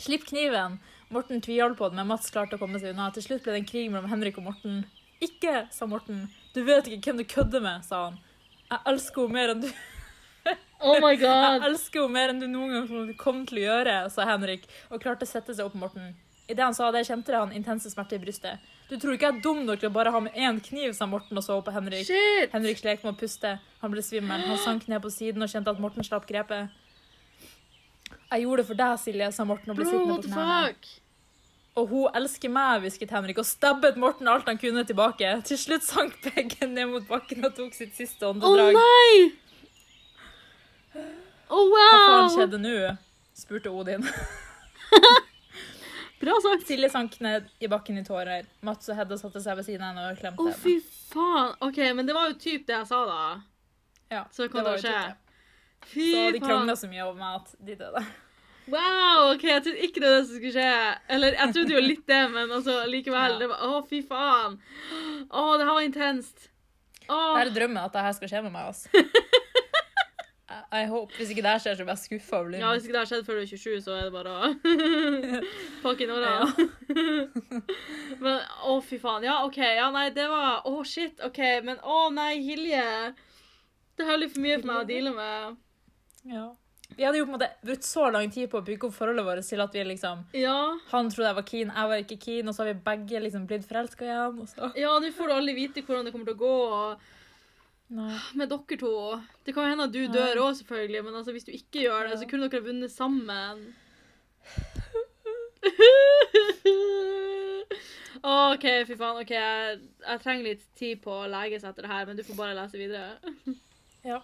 Speaker 3: Slipp kniven! Morten tviholdt på det, men Mats klarte å komme seg unna. Til slutt ble det en krig mellom Henrik og Morten. Ikke, sa Morten. Du vet ikke hvem du kødder med, sa han. Jeg elsker henne mer enn du
Speaker 1: Oh my
Speaker 3: jeg
Speaker 1: god.
Speaker 3: elsker henne mer enn du noen gang kommer- kom til å gjøre, sa Henrik, og klarte å sette seg opp Morten. Idet han sa det, kjente han intense smerter i brystet. Du tror ikke jeg er dum nok til å bare ha med én kniv, sa Morten og så opp på Henrik.
Speaker 1: Shit.
Speaker 3: Henrik slet med å puste. Han ble svimmel. Han sank ned på siden og kjente at Morten slapp grepet. Jeg gjorde det for deg, Silje, sa Morten og ble
Speaker 1: Bro,
Speaker 3: sittende
Speaker 1: what
Speaker 3: på
Speaker 1: the
Speaker 3: knærne.
Speaker 1: fuck?
Speaker 3: Og hun elsker meg, hvisket Henrik, og stabbet Morten alt han kunne tilbake. Til slutt sank begge ned mot bakken og tok sitt siste
Speaker 1: Å
Speaker 3: åndedrag.
Speaker 1: nei! Oh,
Speaker 3: Hva faen
Speaker 1: wow!
Speaker 3: skjedde nå? spurte Odin.
Speaker 1: Bra sagt.
Speaker 3: Silje sank ned i bakken i tårer. Mats og Hedda satte seg ved siden av henne og
Speaker 1: Å,
Speaker 3: klemte henne.
Speaker 1: fy faen. OK, men det var jo typ det jeg sa, da.
Speaker 3: Ja,
Speaker 1: Så det kom til å
Speaker 3: var jo
Speaker 1: skje.
Speaker 3: typ det.
Speaker 1: Fy
Speaker 3: Så de
Speaker 1: faen.
Speaker 3: krangla så mye over meg at de døde.
Speaker 1: Wow, ok, jeg trodde ikke det var det som skulle skje. Eller jeg trodde jo litt det, men altså, likevel.
Speaker 3: Ja.
Speaker 1: Det var, å, fy faen. Å, det her var intenst. Å,
Speaker 3: Det er drømmen at dette skal skje med meg. Altså. I hope. Hvis ikke det her skjer, så blir jeg skuffa og blir
Speaker 1: Ja, Hvis ikke det har skjedd før du er 27, så er det bare å pakke inn åra. men å, fy faen. Ja, OK. Ja, nei, det var Å, shit. OK. Men å, nei, Hilje. Det her er litt for mye for meg å deale med.
Speaker 3: Ja. Vi hadde jo på en måte brukt så lang tid på å bygge opp forholdet vårt til at vi liksom
Speaker 1: Ja.
Speaker 3: Han trodde jeg var keen, jeg var ikke keen, og så har vi begge liksom blitt forelska igjen. Og så.
Speaker 1: Ja, nå får du aldri vite hvordan det kommer til å gå og
Speaker 3: Nei.
Speaker 1: med dere to. Det kan jo hende at du dør òg, selvfølgelig, men altså, hvis du ikke gjør det, så kunne dere ha vunnet sammen. OK, fy faen. ok, Jeg, jeg trenger litt tid på å lege seg etter det her, men du får bare lese videre.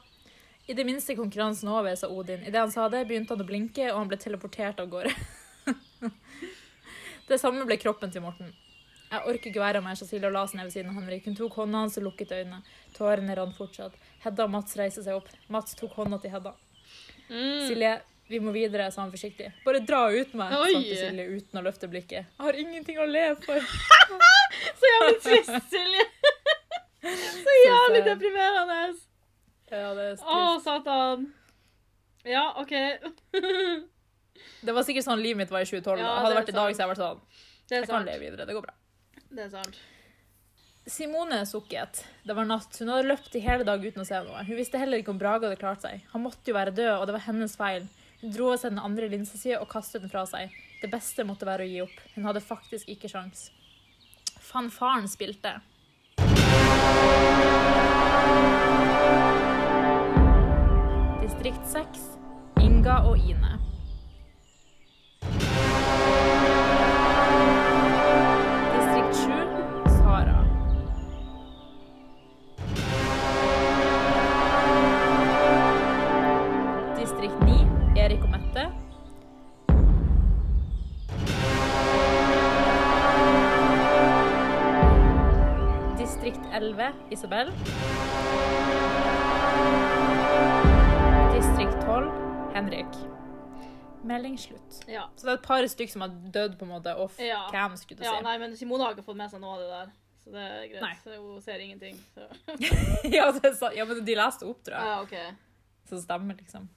Speaker 3: I det minste konkurransen over, sa Odin. Idet han sa det, begynte han å blinke, og han ble teleportert av gårde. det samme ble kroppen til Morten. Jeg orker ikke være mer, sa Silje og la seg ned ved siden av Henrik. Hun tok hånda hans og lukket øynene. Tårene rant fortsatt. Hedda og Mats reiste seg opp. Mats tok hånda til Hedda.
Speaker 1: Mm.
Speaker 3: Silje, vi må videre, sa han forsiktig. Bare dra ut meg,
Speaker 1: Oi.
Speaker 3: sa Silje uten å løfte blikket. Jeg har ingenting å le for.
Speaker 1: Så jævlig trist, Silje. Så jævlig deprimerende.
Speaker 3: Ja, det er trist.
Speaker 1: Å, satan. Ja, OK. Det
Speaker 3: Det var sikkert sånn livet mitt var i 2012.
Speaker 1: Ja,
Speaker 3: da. Hadde det
Speaker 1: det er
Speaker 3: vært i dag,
Speaker 1: sant.
Speaker 3: så hadde jeg vært sånn.
Speaker 1: er
Speaker 3: Jeg kan
Speaker 1: sant.
Speaker 3: leve videre, det går bra.
Speaker 1: Det er sant.
Speaker 3: Simone sukket. Det var natt. Hun hadde løpt i hele dag uten å se noe. Hun visste heller ikke om Brage hadde klart seg. Han måtte jo være død, og det var hennes feil. Hun dro av seg den andre linsesida og kastet den fra seg. Det beste måtte være å gi opp. Hun hadde faktisk ikke sjans. Fanfaren spilte. Distrikt 6, Inga og Ine. Distrikt 7, Sara. Distrikt 9, Erik og Mette. Distrikt 11, Isabel. Distrikt 12, Henrik. Melding slutt.
Speaker 1: Ja.
Speaker 3: Så det er et par stykk som har dødd på en måte off
Speaker 1: Ja.
Speaker 3: cam, skulle du
Speaker 1: Ja,
Speaker 3: si.
Speaker 1: nei, men Simone har ikke fått med seg noe av det der. Så det er greit.
Speaker 3: Nei.
Speaker 1: Så Hun ser ingenting. Så.
Speaker 3: ja, det er sant. ja, men de leste opp, tror jeg.
Speaker 1: Ja, OK.
Speaker 3: Så stemmer, liksom.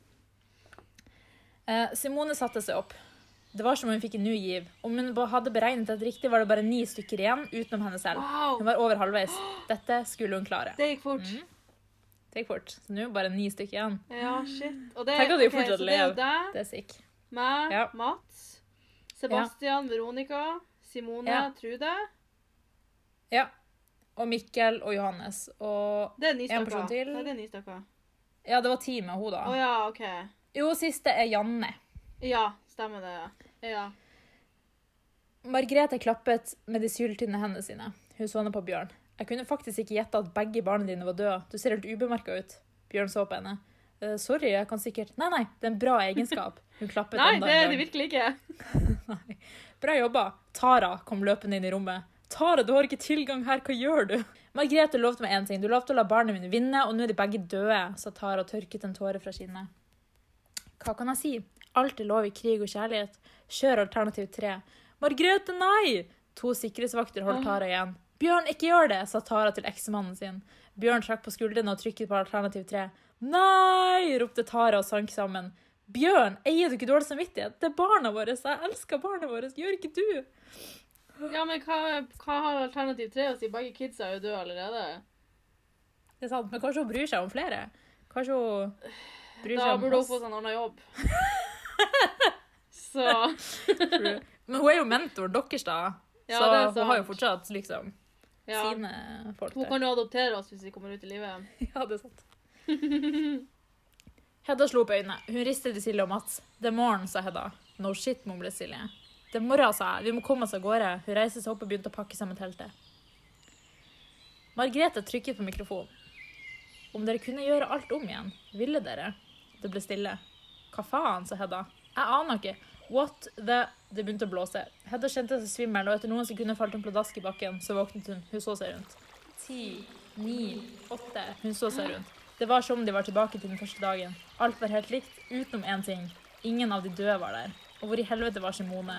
Speaker 3: Eh, Simone satte seg opp. Det var som om hun fikk en ny giv. Om hun ba- hadde beregnet dette riktig, var det bare ni stykker igjen utenom henne selv. Hun
Speaker 1: Wow!
Speaker 3: var over halvveis. Dette skulle hun klare.
Speaker 1: Det gikk fort.
Speaker 3: Mm. Det gikk fort. Så nå er det bare ni stykker igjen.
Speaker 1: Ja, shit. Og det,
Speaker 3: Tenk at de
Speaker 1: ok,
Speaker 3: fortsatt
Speaker 1: så det er jo
Speaker 3: lever.
Speaker 1: deg,
Speaker 3: Det er sick.
Speaker 1: meg,
Speaker 3: Ja.
Speaker 1: Mats, Sebastian, Veronica, Simone,
Speaker 3: Ja.
Speaker 1: Trude.
Speaker 3: Ja. Og Mikkel og Johannes. Og
Speaker 1: Det er ni
Speaker 3: En person
Speaker 1: stykker.
Speaker 3: til.
Speaker 1: Nei, det er ni stykker.
Speaker 3: Ja, det var ti med henne,
Speaker 1: Å
Speaker 3: da.
Speaker 1: ja, OK.
Speaker 3: Jo, siste er Janne.
Speaker 1: Ja, stemmer det. ja. Ja.
Speaker 3: Margrethe klappet med de syltynne hendene sine. Hun så henne på Bjørn. Jeg kunne faktisk ikke gjette at begge barna dine var døde. Du ser helt ubemerka ut. Bjørn så på henne. «Eh, sorry, jeg kan sikkert Nei, nei, det er en bra egenskap. Hun klappet
Speaker 1: Nei,
Speaker 3: enda
Speaker 1: det er
Speaker 3: en
Speaker 1: det
Speaker 3: gang.
Speaker 1: virkelig ikke.
Speaker 3: Nei. Bra jobba. Tara kom løpende inn i rommet. Tara, du har ikke tilgang her, hva gjør du? Margrethe lovte meg én ting. Du lovte å la barna mine vinne, og nå er de begge døde, sa Tara og tørket en tåre fra kinnet. Hva kan jeg si? Alt er lov i krig og kjærlighet. Kjør alternativ tre. Margrethe, nei! To sikkerhetsvakter holdt Tara igjen. Bjørn, ikke gjør det, sa Tara til eksmannen sin. Bjørn trakk på skuldrene og trykket på alternativ tre. Nei! ropte Tara og sank sammen. Bjørn, eier du ikke dårlig samvittighet? Det er barna våre, jeg elsker barna våre, gjør ikke du?
Speaker 1: Ja, men hva, hva har alternativ tre å si? Begge kidsa er jo døde allerede.
Speaker 3: Det er sant, men kanskje hun bryr seg om flere? Kanskje hun bryr
Speaker 1: Da
Speaker 3: seg om
Speaker 1: burde hun
Speaker 3: oss?
Speaker 1: få seg en annen jobb. Så
Speaker 3: tror du? Men hun er jo mentoren deres, da.
Speaker 1: Ja,
Speaker 3: så
Speaker 1: det er
Speaker 3: hun har jo
Speaker 1: sant.
Speaker 3: fortsatt liksom
Speaker 1: ja.
Speaker 3: sine folk
Speaker 1: Hun
Speaker 3: der.
Speaker 1: kan jo adoptere oss hvis vi kommer ut i livet.
Speaker 3: Ja, det er sant. Hedda slo opp øynene. Hun ristet i Silje og Mats. Det er morgen, sa Hedda. No shit, mumlet Silje. Det er morgen, sa jeg. Vi må komme oss av gårde. Hun reiste seg opp og begynte å pakke sammen teltet. Margrethe trykket på mikrofonen. Om dere kunne gjøre alt om igjen, ville dere? Det ble stille. Hva faen, sa Hedda. Jeg aner ikke. What the Det begynte å blåse. Hedda kjente seg svimmel, og etter noen sekunder falt hun pladask i bakken. Så våknet hun. Hun så seg rundt. Ti, ni, åtte. Hun så seg rundt. Det var som om de var tilbake til den første dagen. Alt var helt likt, utenom én ting. Ingen av de døde var der. Og hvor i helvete var Simone?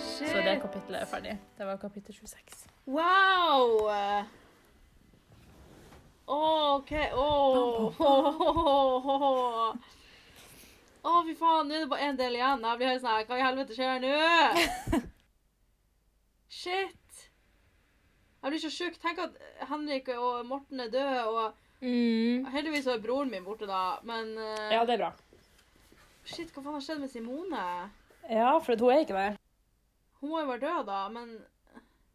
Speaker 3: Så det det
Speaker 1: shit.
Speaker 3: kapittelet er ferdig. Det var kapittel 26.
Speaker 1: Wow! Åh, OK. Åh, Åh, Åh, fy faen. Nå er det bare én del igjen. Jeg blir helt sånn her, Hva i helvete skjer nå? Shit. Jeg blir så sjuk. Tenk at Henrik og Morten er døde, og
Speaker 3: Mm.
Speaker 1: heldigvis så er broren min borte, da. Men eh,
Speaker 3: Ja, det er bra.
Speaker 1: shit, hva faen har skjedd med Simone?
Speaker 4: Ja, for hun er ikke der.
Speaker 1: Hun må jo være død, da, men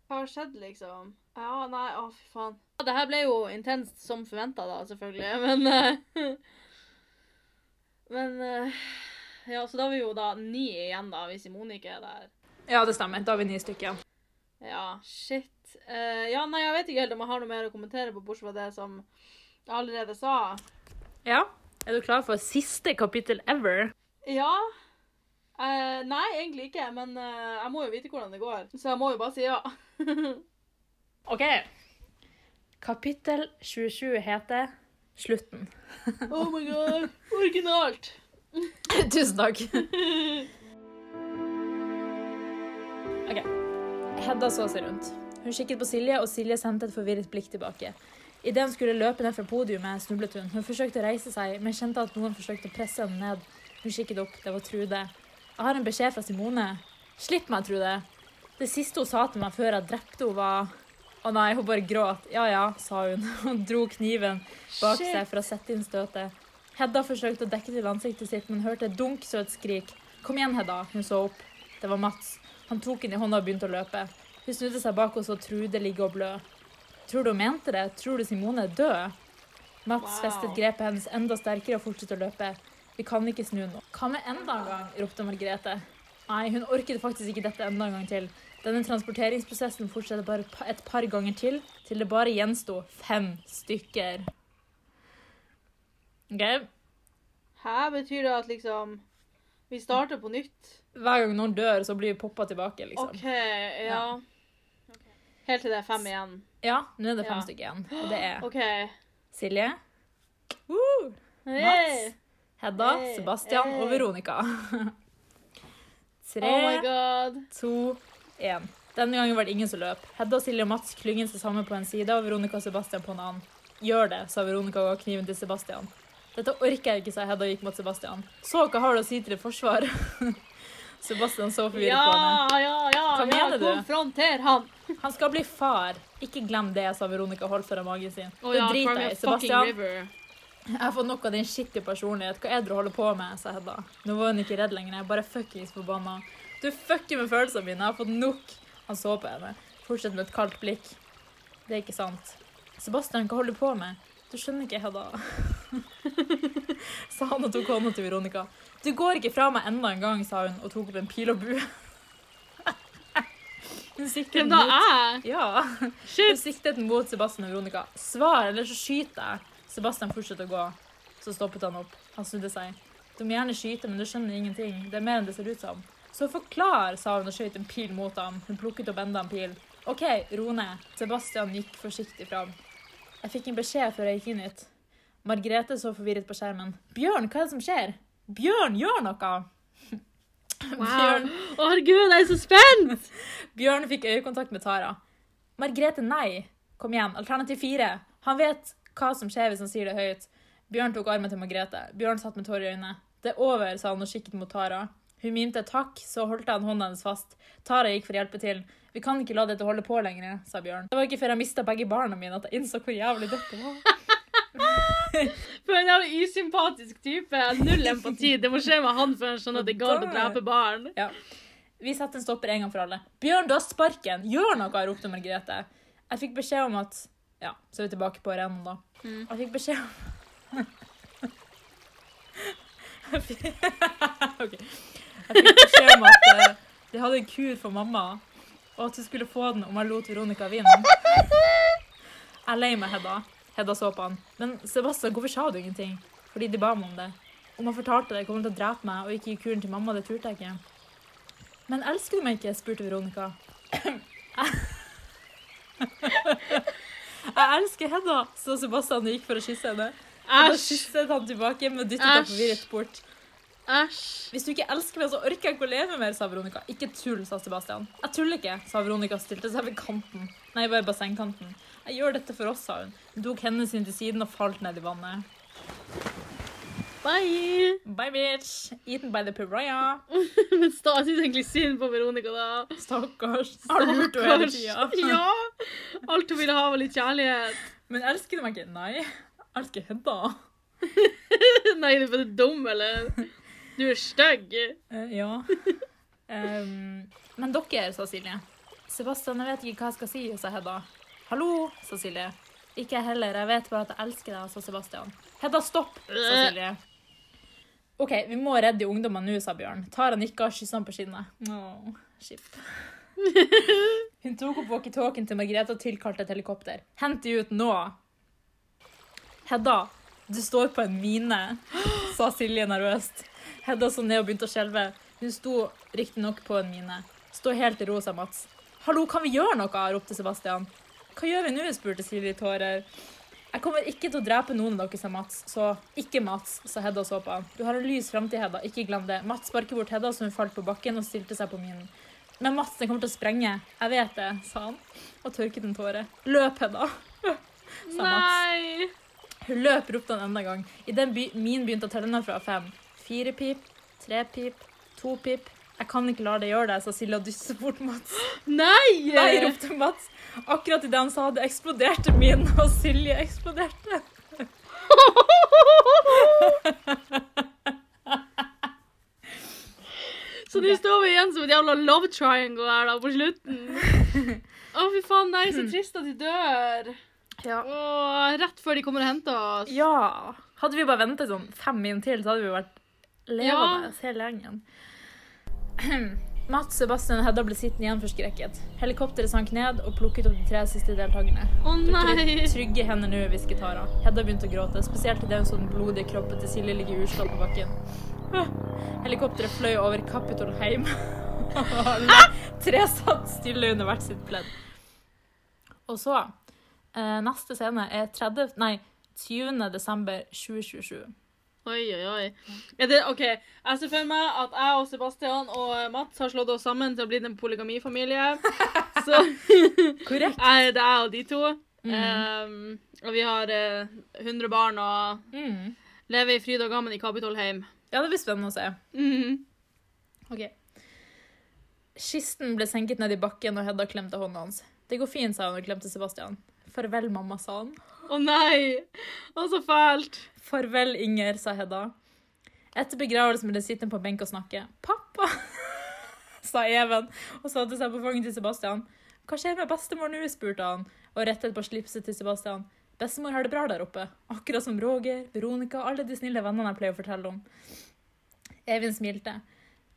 Speaker 1: hva har skjedd, liksom? Ja, nei, å, fy faen. Det her ble jo intenst som forventa, da, selvfølgelig, men eh, Men eh, Ja, så da er vi jo da ni igjen, da, hvis Simone ikke er der.
Speaker 3: Ja, det stemmer. Da er vi ni stykker igjen.
Speaker 1: Ja, shit. Eh, ja, nei, jeg vet ikke helt om jeg har noe mer å kommentere på, bortsett fra det som jeg allerede sa.
Speaker 3: Ja. Er du klar for siste kapittel ever?
Speaker 1: Ja. Eh, nei, egentlig ikke, men eh, jeg må jo vite hvordan det går, så jeg må jo bare si ja.
Speaker 3: OK. Kapittel 27 heter Slutten.
Speaker 1: Oh my god, originalt!
Speaker 3: Tusen takk. OK. Hedda så seg rundt. Hun kikket på Silje, og Silje sendte et forvirret blikk tilbake. Idet hun skulle løpe ned fra podiumet, snublet hun. Hun forsøkte å reise seg, men kjente at noen forsøkte å presse henne ned. Hun kikket opp. Det var Trude. Jeg har en beskjed fra Simone. Slipp meg, Trude. Det siste hun sa til meg før jeg drepte henne, var Å nei, hun bare gråt. Ja ja, sa hun og dro kniven bak seg for å sette inn støtet. Hedda forsøkte å dekke til ansiktet sitt, men hørte et dunk så et skrik. Kom igjen, Hedda. Hun så opp. Det var Mats. Han tok henne i hånda og begynte å løpe. Hun snudde seg bak og så Trude ligge og blø. Tror du hun mente det? Tror du Simone er død? Mats
Speaker 1: Wow.
Speaker 3: festet grepet hennes enda sterkere og fortsatte å løpe. Vi kan ikke snu nå. Hva med enda en gang? ropte Margrethe. Nei, hun orket faktisk ikke dette enda en gang til. Denne transporteringsprosessen fortsetter bare pa- et par ganger til, til det bare gjensto fem stykker. Ok?
Speaker 1: Hæ? Betyr det at liksom Vi starter på nytt?
Speaker 3: Hver gang noen dør, så blir poppa tilbake, liksom.
Speaker 1: OK, ja. Helt til det er fem igjen.
Speaker 3: Ja, nå er det fem
Speaker 1: Ja.
Speaker 3: stykker igjen. Og det er
Speaker 1: OK.
Speaker 3: Silje, Woo!
Speaker 1: Hey.
Speaker 3: Hedda,
Speaker 1: Hey,
Speaker 3: Sebastian
Speaker 1: hey.
Speaker 3: og Veronica. Tre,
Speaker 1: Oh my god.
Speaker 3: to, én. Denne gangen var det ingen som løp. Hedda, Silje og Mats klynget seg sammen på en side, og Veronica og Sebastian på en annen. Gjør det, sa Veronica og ga kniven til Sebastian. Dette orker jeg ikke, sa Hedda og gikk mot Sebastian. Så hva har du å si til ditt forsvar? Sebastian så forvirret på henne.
Speaker 1: Ja, ja, ja.
Speaker 3: Hva
Speaker 1: ja,
Speaker 3: mener du?
Speaker 1: Konfronter han.
Speaker 3: Han skal bli far. Ikke glem det, sa Veronica og holdt foran magen sin.
Speaker 1: Å
Speaker 3: det
Speaker 1: ja,
Speaker 3: driter
Speaker 1: Cry Me
Speaker 3: jeg i,
Speaker 1: a Fucking
Speaker 3: Sebastian.
Speaker 1: River.
Speaker 3: Jeg har fått nok av din skittige personlighet. Hva er det du holder på med? sa Hedda. Nå var hun ikke redd lenger. Jeg er bare fuckings forbanna. Du fucker med følelsene mine. Jeg har fått nok. Han så på henne. Fortsett med et kaldt blikk. Det er ikke sant. Sebastian, hva holder du på med? Du skjønner ikke, Hedda. sa han og tok hånda til Veronica. Du går ikke fra meg enda en gang, sa hun og tok opp en pil og bue. hun siktet
Speaker 1: Hvem
Speaker 3: den
Speaker 1: da
Speaker 3: ut.
Speaker 1: er jeg?
Speaker 3: Ja. Hun
Speaker 1: Shit.
Speaker 3: siktet den mot Sebastian og Veronica. Svar, eller så skyter jeg. Sebastian fortsatte å gå. Så stoppet han opp. Han snudde seg. Du må gjerne skyte, men du skjønner ingenting. Det er mer enn det ser ut som. Så forklar, sa hun og skjøt en pil mot ham. Hun plukket opp enda en pil. OK, ro ned. Sebastian gikk forsiktig fram. Jeg fikk en beskjed før jeg gikk inn hit. Margrethe så forvirret på skjermen. Bjørn, hva er det som skjer? Bjørn, gjør noe!
Speaker 1: Wow.
Speaker 3: Bjørn.
Speaker 1: Å, herregud, jeg er så spent!
Speaker 3: Bjørn fikk øyekontakt med Tara. Margrethe, nei. Kom igjen. Alternativ fire. Han vet hva som skjer hvis han sier det høyt. Bjørn tok armen til Margrethe. Bjørn satt med tårer i øynene. Det er over, sa han og kikket mot Tara. Hun mimte takk, så holdt han hånda hennes fast. Tara gikk for å hjelpe til. Vi kan ikke la dette holde på lenger, sa Bjørn. Det var ikke før jeg mista begge barna mine at jeg innså hvor jævlig dette var.
Speaker 1: For en jævlig usympatisk type. Null empati. Det må skje med han før han skjønner at det går å drepe barn.
Speaker 3: Vi setter en stopper en gang for alle. Bjørn, du har sparken! Gjør noe! ropte Margrethe. Jeg fikk beskjed om at Ja, så er vi tilbake på arenaen, da.
Speaker 1: Mm.
Speaker 3: Jeg fikk beskjed om Jeg fikk- Ok. Jeg fikk beskjed om at eh, de hadde en kur for mamma, og at hun skulle få den om jeg lot Veronica vinne. Jeg er lei meg, Hedda. Hedda så på han. Men Sebastian, hvorfor sa du ingenting? Fordi de ba meg om det. Om han fortalte det, kom han til å drepe meg og ikke gi kuren til mamma. Det turte jeg ikke. Men elsker du meg ikke? spurte Veronica. Jeg elsker Hedda, så Sebastian gikk for å kysse henne. Og da
Speaker 1: Æsj.
Speaker 3: kysset han tilbake, men dyttet henne
Speaker 1: Æsj.
Speaker 3: forvirret bort.
Speaker 1: Æsj.
Speaker 3: Hvis du ikke elsker meg, så orker jeg ikke å leve mer, sa Veronica. Ikke tull, sa Sebastian. Jeg tuller ikke, sa Veronica og stilte seg ved kanten. Nei, bare bassengkanten. Jeg gjør dette for oss, sa hun. Hun tok hendene sine til siden og falt ned i vannet.
Speaker 1: Bye!
Speaker 3: Bye, bitch! Eaten by the pariah.
Speaker 1: Men sta, jeg syns egentlig synd på Veronica, da.
Speaker 3: Stakkars. Har du lurt henne hele
Speaker 1: Stakkars.
Speaker 3: tiden?
Speaker 1: Ja. Alt hun ville ha, var litt kjærlighet.
Speaker 3: Men elsker du meg ikke? Nei. Jeg elsker Hedda.
Speaker 1: Nei, du er bare dum, eller? Du er stygg.
Speaker 3: Eh, ja. Em, men dere, sa Silje. Sebastian, jeg vet ikke hva jeg skal si, sa Hedda. Hallo, sa Silje. Ikke jeg heller, jeg vet bare at jeg elsker deg, sa Sebastian. Hedda, stopp, sa Silje. OK, vi må redde ungdommene nå, sa Bjørn. Tara nikka og kyssa han på kinnet. Åh, skip. Hun tok opp walkietalkien til Margrethe og tilkalte et helikopter. Hent de ut nå! Hedda, du står på en mine, sa Silje nervøst. Hedda så ned og begynte å skjelve. Hun sto riktignok på en mine. Stå helt i ro, sa Mats. Hallo, kan vi gjøre noe? ropte Sebastian. Hva gjør vi nå? spurte Silje i tårer. Jeg kommer ikke til å drepe noen av dere, sa Mats. Så ikke Mats, sa Hedda og så på han. Du har en lys framtid, Hedda. Ikke glem det. Mats sparker bort Hedda, så hun falt på bakken og stilte seg på minen. Men Mats, den kommer til å sprenge. Jeg vet det, sa han og tørket en tåre. Løp, Hedda. Sa Mats.
Speaker 1: Nei!
Speaker 3: Hun løp, ropte han enda en gang. I den by min begynte å telle ned fra fem. Fire pip, tre pip, to pip. Jeg kan ikke la deg gjøre det, sa Silje og dysset bort Mats.
Speaker 1: Nei!
Speaker 3: Nei, ropte Mats. Akkurat idet han sa det, eksploderte min, og Silje eksploderte.
Speaker 1: Så nå står vi igjen som et jævla love triangle her da, på slutten. Å, fy faen, nei, så trist at de dør.
Speaker 3: Ja.
Speaker 1: Åh, rett før de kommer og henter oss.
Speaker 3: Ja. Hadde vi bare ventet sånn fem min til, så hadde vi vært levende hele gjengen. Mats, Sebastian og Hedda ble sittende igjen forskrekket. Helikopteret sank ned og plukket opp de tre siste deltakerne.
Speaker 1: Å
Speaker 3: Tryg-
Speaker 1: nei!
Speaker 3: Trygge hender nå, hvisket Tara. Hedda begynte å gråte, spesielt idet hun så den blodige kroppen til Silje ligge uslått på bakken. Helikopteret fløy over Capitol Heim. Alle tre satt stille under hvert sitt pledd. Og så eh, Neste scene er 30, nei, 20. desember 2027.
Speaker 1: Oi, oi, oi. Er det, ok, Jeg ser for meg at jeg og Sebastian og eh, Mats har slått oss sammen til å bli en polygamifamilie. Så
Speaker 3: Korrekt.
Speaker 1: jeg, det er jeg og de to.
Speaker 3: Mm.
Speaker 1: Ehm, og vi har eh, 100 barn og
Speaker 3: Mm.
Speaker 1: lever i fryd og gammen i Kapitolheim.
Speaker 3: Ja, det blir spennende å se.
Speaker 1: Mhm.
Speaker 3: Ok. Kisten ble senket ned i bakken, og Hedda klemte hånden hans. Det går fint, sa hun og klemte Sebastian. Farvel, mamma, sa han.
Speaker 1: Å nei! Å, så fælt.
Speaker 3: Farvel, Inger, sa Hedda. Etter begravelsen ble de sittende på en benk og snakke. Pappa, sa Even og satte seg på fanget til Sebastian. Hva skjer med bestemor nå, spurte han, og rettet på slipset til Sebastian. Bestemor har det bra der oppe, akkurat som Roger, Veronica og alle de snille vennene jeg pleier å fortelle om. Even smilte.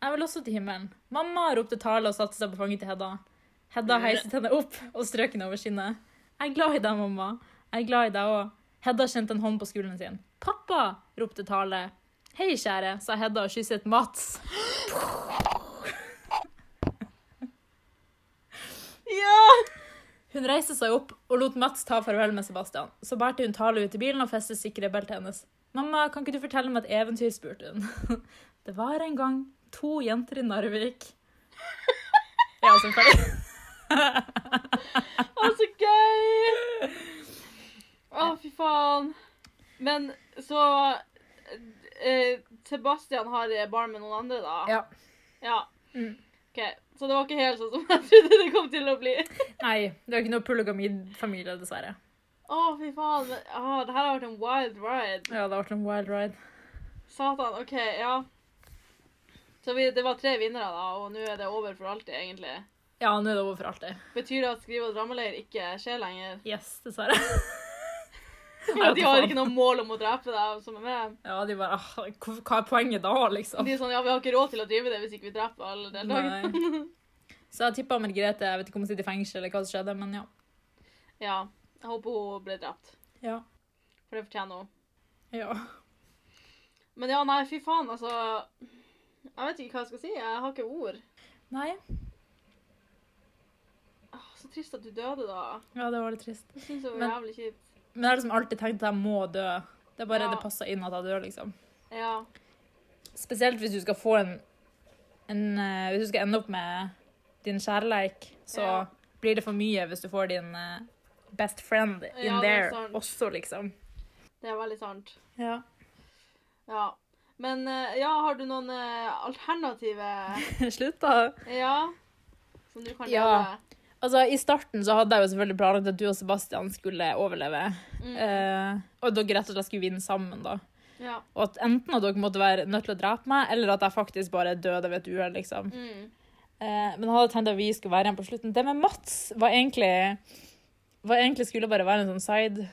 Speaker 3: Jeg vil også til himmelen. Mamma, ropte Tale og satte seg på fanget til Hedda. Hedda heiset henne opp og strøk henne over skinnet. Jeg er glad i deg, mamma. Jeg er glad i deg òg. Hedda kjente en hånd på skulderen sin. Pappa! ropte Tale. Hei, kjære, sa Hedda og kysset Mats.
Speaker 1: Ja!
Speaker 3: Hun reiste seg opp og lot Mats ta farvel med Sebastian. Så bærte hun Tale ut i bilen og festet sikkerhetsbeltet hennes. Mamma, kan ikke du fortelle meg et eventyr? spurte hun. Det var en gang to jenter i Narvik. Ja, som ferdig.
Speaker 1: Å, så gøy! Å, fy faen. Men så eh, Sebastian har eh, barn med noen andre, da?
Speaker 3: Ja.
Speaker 1: ja.
Speaker 3: Mm.
Speaker 1: OK. Så det var ikke helt sånn som jeg trodde det kom til å bli.
Speaker 3: Nei, det er jo ikke noe polygamidfamilie, dessverre.
Speaker 1: Å, fy faen. Å, det her har vært en wild ride.
Speaker 3: Ja, det har vært en wild ride.
Speaker 1: Satan. OK, ja. Så vi, det var tre vinnere, da, og nå er det over for alltid, egentlig.
Speaker 3: Ja, nå er det over for alltid.
Speaker 1: Betyr det at skrive- og drammeleir ikke skjer lenger?
Speaker 3: Yes, dessverre.
Speaker 1: De har ikke noe mål om å drepe deg som er med?
Speaker 3: Ja, de bare «Ah, hva- Hva er poenget da, liksom?
Speaker 1: De er sånn, ja, Vi har ikke råd til å drive det hvis ikke vi dreper alle deltakerne.
Speaker 3: Nei. Så jeg tippa Margrethe jeg vet ikke om hun sitter i fengsel, eller hva som skjedde, men ja.
Speaker 1: Ja. Jeg håper hun ble drept,
Speaker 3: Ja.
Speaker 1: for det fortjener hun.
Speaker 3: ja.
Speaker 1: Men ja, nei, fy faen, altså. Jeg vet ikke hva jeg skal si. Jeg har ikke ord.
Speaker 3: Nei.
Speaker 1: Åh, så trist at du døde, da.
Speaker 3: Ja, det var litt trist.
Speaker 1: Jeg synes det var
Speaker 3: Men-
Speaker 1: jævlig kjipt.
Speaker 3: Men jeg har liksom alltid tenkt at jeg må dø. Det er bare
Speaker 1: Ja.
Speaker 3: det passer inn at jeg dør, liksom.
Speaker 1: Ja.
Speaker 3: Spesielt hvis du skal få en, en eh, Hvis du skal ende opp med din kjærleik, så
Speaker 1: Ja.
Speaker 3: blir det for mye hvis du får din eh, best friend in
Speaker 1: Ja, det er
Speaker 3: there
Speaker 1: sant.
Speaker 3: også, liksom.
Speaker 1: Det er veldig sant.
Speaker 3: Ja.
Speaker 1: Ja. Men eh, ja, har du noen eh, alternative
Speaker 3: Slutt, da.
Speaker 1: Ja? Som du kan
Speaker 3: Ja.
Speaker 1: gjøre?
Speaker 3: Altså, I starten så hadde jeg jo selvfølgelig planlagt at du og Sebastian skulle overleve.
Speaker 1: Mm.
Speaker 3: Eh, og at dere rett og slett skulle vinne sammen, da.
Speaker 1: Ja.
Speaker 3: Og at enten at dere måtte være nødt til å drepe meg, eller at jeg faktisk bare døde ved et uhell, liksom.
Speaker 1: Mm.
Speaker 3: Eh, men jeg hadde tenkt at vi skulle være igjen på slutten. Det med Mats var egentlig, var egentlig skulle bare være en sånn side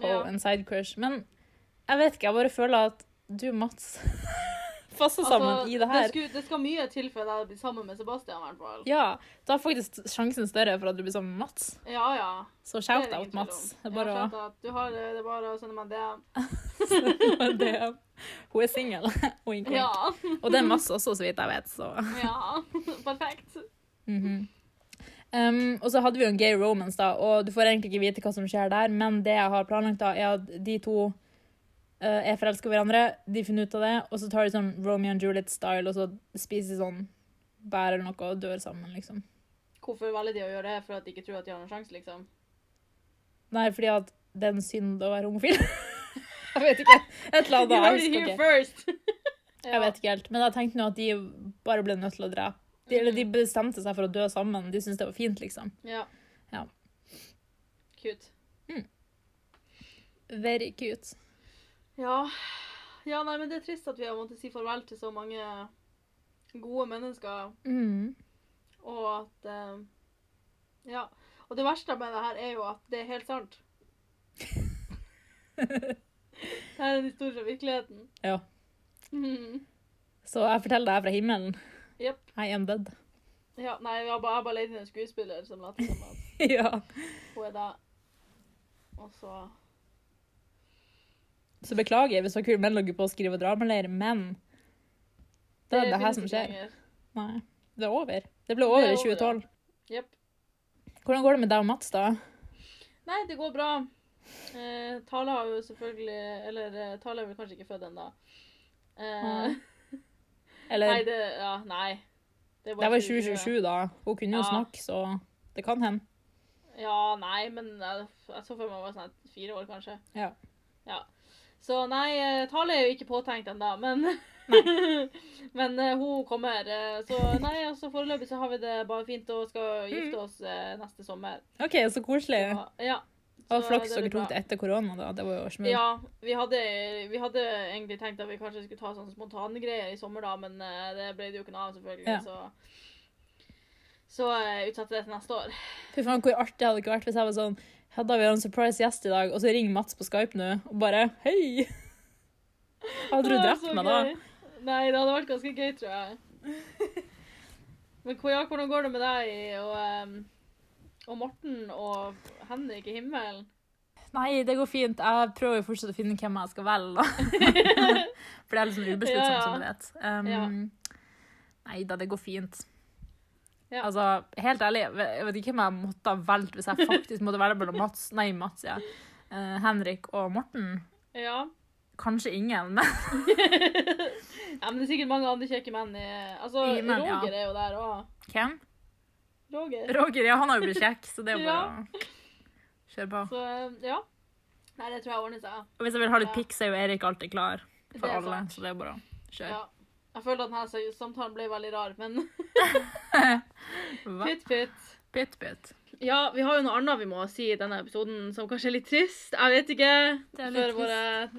Speaker 3: ho,
Speaker 1: Ja.
Speaker 3: en side crush. Men jeg vet ikke, jeg bare føler at du og Mats passer sammen i det her.
Speaker 1: skulle, Altså, det skal mye til før jeg blir sammen med Sebastian, i hvert fall.
Speaker 3: Ja, da er faktisk sjansen større for at du blir sammen med Mats.
Speaker 1: Ja, ja.
Speaker 3: Så
Speaker 1: Det er det
Speaker 3: shout out,
Speaker 1: ingen tvil
Speaker 3: Mats.
Speaker 1: om.
Speaker 3: Det er bare
Speaker 1: ja,
Speaker 3: å
Speaker 1: shout out. Du har eh, det, det er bare å sende meg det.
Speaker 3: det er- Hun er singel. Wink, wink.
Speaker 1: Ja.
Speaker 3: Og det er Mats også, så vidt jeg vet. Så.
Speaker 1: ja. Perfekt.
Speaker 3: Mhm. Um, og så hadde vi jo en gay romance, da, og du får egentlig ikke vite hva som skjer der, men det jeg har planlagt, da, er at de to eh, er forelska i hverandre, de finner ut av det, og så tar de sånn Romeo and Juliet-style, og så spiser sånn bær eller noe og dør sammen, liksom.
Speaker 1: Hvorfor velger de å gjøre det? For at de ikke tror at de har noen sjanse, liksom?
Speaker 3: Nei, fordi at det er en synd å være homofil. jeg vet ikke. Et eller annet.
Speaker 1: You
Speaker 3: Jeg
Speaker 1: heard it
Speaker 3: husker
Speaker 1: here
Speaker 3: ikke.
Speaker 1: first!
Speaker 3: Jeg vet ikke helt. Men jeg tenkte nå at de bare ble nødt til å drepe. De, eller de bestemte seg for å dø sammen. De syntes det var fint, liksom.
Speaker 1: Ja.
Speaker 3: Ja.
Speaker 1: Cute.
Speaker 3: Very cute.
Speaker 1: Ja. ja, nei, men det er trist at vi har måttet si farvel til så mange gode mennesker,
Speaker 3: Mm.
Speaker 1: og at eh, Ja. Og det verste med det her er jo at det er helt sant. det her er en historie fra virkeligheten.
Speaker 3: Ja.
Speaker 1: Mhm.
Speaker 3: Så jeg forteller deg fra himmelen.
Speaker 1: Jepp.
Speaker 3: I am dead.
Speaker 1: Ja, nei, jeg har bare, jeg har bare leid inn en skuespiller som later som at
Speaker 3: ja.
Speaker 1: hun er deg. Og så
Speaker 3: Så beklager hvis dere menn logger på å skrive dramaleir, men det er det, her
Speaker 1: finnes
Speaker 3: som
Speaker 1: ikke
Speaker 3: skjer.
Speaker 1: lenger.
Speaker 3: Nei. Det er over. Det ble over
Speaker 1: Det er
Speaker 3: i 2012.
Speaker 1: Jepp.
Speaker 3: Hvordan går det med deg og Mats, da?
Speaker 1: Nei, det går bra. Eh, Tale har jo selvfølgelig Eller eh, Tale er vel kanskje ikke født ennå. Eh,
Speaker 3: Nei.
Speaker 1: nei,
Speaker 3: Mm. Eller
Speaker 1: det Ja, nei. Det
Speaker 3: Det var i
Speaker 1: 2020.
Speaker 3: 2027, da. Hun kunne jo
Speaker 1: Ja.
Speaker 3: snakke, så det kan hende.
Speaker 1: Ja, nei, men jeg, jeg så for meg hun var sånn fire år, kanskje.
Speaker 3: Ja.
Speaker 1: Ja. Så nei, eh, Tale er jo ikke påtenkt ennå, men Men eh, hun kommer. eh, Så nei, altså foreløpig så har vi det bare fint og skal gifte
Speaker 3: Mm.
Speaker 1: oss eh, neste sommer.
Speaker 3: OK, så koselig.
Speaker 1: Så, ja.
Speaker 3: Og
Speaker 1: Så
Speaker 3: flaks
Speaker 1: det blir
Speaker 3: dere tok
Speaker 1: bra.
Speaker 3: det etter korona, da. Det var jo smooth.
Speaker 1: Ja, vi hadde, vi hadde egentlig tenkt at vi kanskje skulle ta sånne spontane greier i sommer, da, men eh, det ble det jo ikke noe av, selvfølgelig.
Speaker 3: Ja.
Speaker 1: Så, så eh, utsatte det til neste år.
Speaker 3: Fy faen, hvor artig hadde det ikke vært hvis jeg var sånn Hedda, vi har en surprise gjest i dag, og så ringer Mats på Skype nå og bare Hei! Hadde du
Speaker 1: Det var
Speaker 3: drept
Speaker 1: så
Speaker 3: meg da?
Speaker 1: gøy. Nei, det hadde vært ganske gøy, tror jeg. Men hvor- ja, hvordan går det med deg og, em, og Morten og Henrik i himmelen?
Speaker 3: Nei, det går fint. Jeg prøver jo fortsatt å finne hvem jeg skal velge, da. For det er litt sånn ubesluttsomt,
Speaker 1: Ja, ja.
Speaker 3: som du vet. Um,
Speaker 1: Ja.
Speaker 3: Nei da, det går fint.
Speaker 1: Ja.
Speaker 3: Altså, helt ærlig, jeg vet- jeg vet ikke hvem jeg måtte ha valgt hvis jeg faktisk måtte velge mellom Mats, nei, Mats, ja. Eh, Henrik og Morten.
Speaker 1: Ja.
Speaker 3: Kanskje ingen, men
Speaker 1: ja, men det er sikkert mange andre kjekke menn i Altså,
Speaker 3: I himmelen, ja.
Speaker 1: Roger er jo der òg.
Speaker 3: hvem?
Speaker 1: Roger.
Speaker 3: Roger, ja, han har jo blitt kjekk, så det er jo bare å kjøre på.
Speaker 1: Så eh, ja. Nei, det tror jeg ordner seg.
Speaker 3: Og hvis jeg vil ha litt
Speaker 1: Ja.
Speaker 3: pikk, så er jo Erik alltid klar for
Speaker 1: Det er
Speaker 3: alle,
Speaker 1: sant.
Speaker 3: så det er bare å kjøre.
Speaker 1: Ja. Jeg følte at denne samtalen ble veldig rar, men
Speaker 3: Hva?
Speaker 1: pytt, pytt.
Speaker 3: Pytt, pytt.
Speaker 1: Ja, vi har jo noe annet vi må si i denne episoden som kanskje er litt trist. Jeg vet ikke.
Speaker 3: Det er litt
Speaker 1: For våre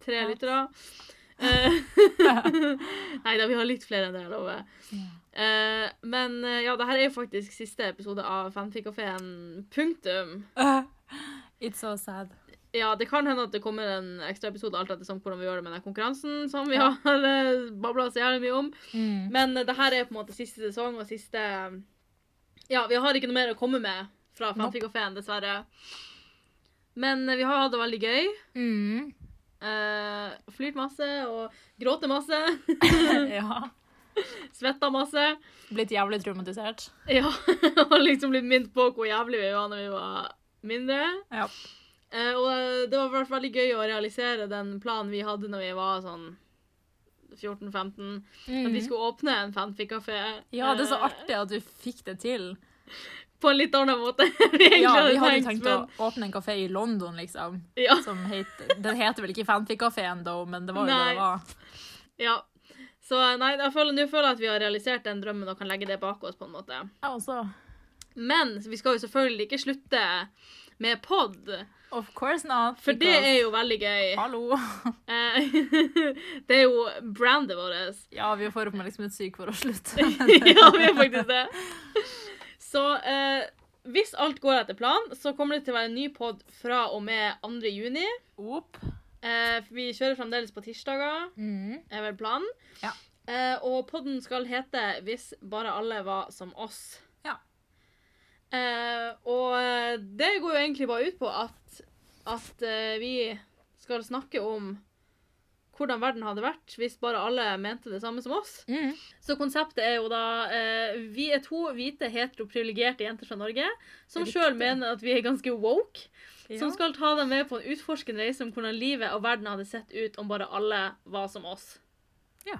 Speaker 1: tre
Speaker 3: Ja.
Speaker 1: lyttere. Nei da, vi har litt flere enn det, jeg lover. Eh, men eh, ja, det her er jo faktisk siste episode av Fanfikkafeen. Punktum.
Speaker 3: It's so sad.
Speaker 1: Ja, det kan hende at det kommer en ekstra episode alt etter som hvordan vi gjør det med den konkurransen som vi har uh, babla så jævlig mye om.
Speaker 3: Mm.
Speaker 1: Men eh, det her er på en måte siste sesong og siste um, Ja, vi har ikke noe mer å komme med fra Fanfic og Fan, dessverre. Men eh, vi har hatt det veldig gøy.
Speaker 3: Mm.
Speaker 1: Uh, Flyrt masse og gråte masse.
Speaker 3: ja.
Speaker 1: Svetta masse.
Speaker 3: Blitt jævlig traumatisert.
Speaker 1: Ja, og liksom blitt minnet på hvor jævlig vi var når vi var mindre.
Speaker 3: Ja.
Speaker 1: Eh, og eh, det har vært veldig gøy å realisere den planen vi hadde når vi var sånn 14-15. At vi
Speaker 3: Mm.
Speaker 1: skulle åpne en fanfic-kafé.
Speaker 3: Ja, det er så
Speaker 1: eh,
Speaker 3: artig at du fikk det til.
Speaker 1: På en litt annen måte. vi egentlig
Speaker 3: Ja,
Speaker 1: hadde
Speaker 3: vi hadde jo
Speaker 1: tenkt,
Speaker 3: tenkt å åpne en kafé i London, liksom.
Speaker 1: men ja,
Speaker 3: Som het, den heter vel ikke Fanfic-kafeen, da, men det var jo
Speaker 1: Nei.
Speaker 3: det det var.
Speaker 1: ja. Så nei, jeg føler, nå føler jeg at vi har realisert den drømmen og kan legge det bak oss. på en måte.
Speaker 3: Jeg også.
Speaker 1: Men vi skal jo selvfølgelig ikke slutte med pod,
Speaker 3: Of course not.
Speaker 1: for det
Speaker 3: because-
Speaker 1: er jo veldig gøy.
Speaker 3: Hallo.
Speaker 1: Eh, det er jo brandet vårt.
Speaker 3: Ja, vi får opp med liksom et syk for å slutte.
Speaker 1: ja, vi er faktisk det. Så eh, hvis alt går etter plan, så kommer det til å være en ny pod fra og med 2. juni.
Speaker 3: Opp.
Speaker 1: Eh, vi kjører fremdeles på tirsdager,
Speaker 3: Mm.
Speaker 1: er vel planen.
Speaker 3: Ja.
Speaker 1: Eh, og podden skal hete 'Hvis bare alle var som oss'.
Speaker 3: Ja.
Speaker 1: Eh, og eh, det går jo egentlig bare ut på at, at eh, vi skal snakke om hvordan verden hadde vært hvis bare alle mente det samme som oss.
Speaker 3: Mm.
Speaker 1: Så konseptet er jo da eh, Vi er to hvite, heteroprivilegerte jenter fra Norge som
Speaker 3: Riktig.
Speaker 1: sjøl mener at vi er ganske woke. Som
Speaker 3: Ja.
Speaker 1: skal ta dem med på en utforskende reise om hvordan livet og verden hadde sett ut om bare alle var som oss.
Speaker 3: Ja.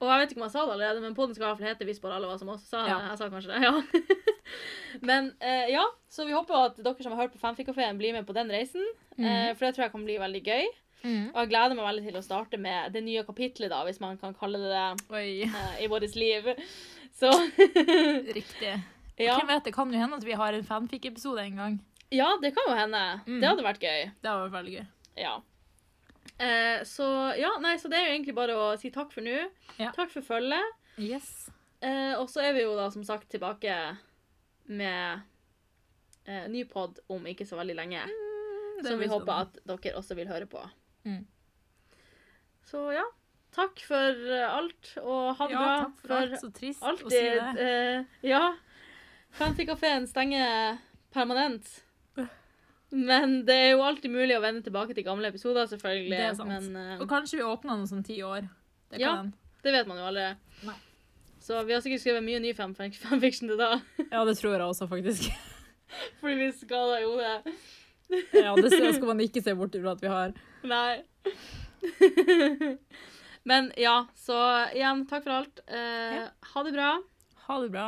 Speaker 1: Og jeg vet ikke om jeg sa det allerede, men podden skal i hvert fall hete 'Hvis bare alle var som oss'. Sa jeg, det?
Speaker 3: Ja.
Speaker 1: jeg sa kanskje det, ja. men eh, ja, så vi håper at dere som har hørt på Fanfikkafeen, blir med på den reisen.
Speaker 3: mm. Mhm.
Speaker 1: eh, for det tror jeg kan bli veldig gøy. Og jeg gleder meg veldig til å starte med det nye kapitlet, da, hvis man kan kalle det det
Speaker 3: Oi,
Speaker 1: eh, i vårt liv. Så
Speaker 3: riktig. Hvem
Speaker 1: ja.
Speaker 3: vet, det kan jo hende at vi har en fanfic-episode en gang.
Speaker 1: ja, det kan jo hende.
Speaker 3: Mm.
Speaker 1: Det hadde vært gøy.
Speaker 3: Det hadde vært veldig gøy.
Speaker 1: Ja. Eh, så ja, nei, så det er jo egentlig bare å si takk for nå.
Speaker 3: Ja.
Speaker 1: Takk for følget.
Speaker 3: Yes.
Speaker 1: Eh, og så er vi jo da som sagt tilbake med eh, ny pod om ikke så veldig lenge. som vi håper at dere også vil høre på.
Speaker 3: Mm.
Speaker 1: Så ja. Takk for eh, alt, og ha det
Speaker 3: ja,
Speaker 1: bra.
Speaker 3: takk for alt. Så trist å si
Speaker 1: Alltid.
Speaker 3: det.
Speaker 1: eh, ja. Fancy-kafeen stenger permanent. Men det er jo alltid mulig å vende tilbake til gamle episoder, selvfølgelig.
Speaker 3: Det er sant.
Speaker 1: Men eh,
Speaker 3: Og kanskje vi åpner den som ti år. Det
Speaker 1: Ja.
Speaker 3: kan
Speaker 1: det vet man jo aldri.
Speaker 3: Nei.
Speaker 1: Så vi har sikkert skrevet mye ny fan- fan- fanfiction til da.
Speaker 3: ja. ja, det tror jeg også, faktisk.
Speaker 1: Fordi vi skada jo det.
Speaker 3: ja, det ser- skal man ikke se bort ifra at vi har.
Speaker 1: Nei. Men ja, så igjen, takk for alt. Eh,
Speaker 3: Ja.
Speaker 1: Ha det bra.
Speaker 3: Ha det bra.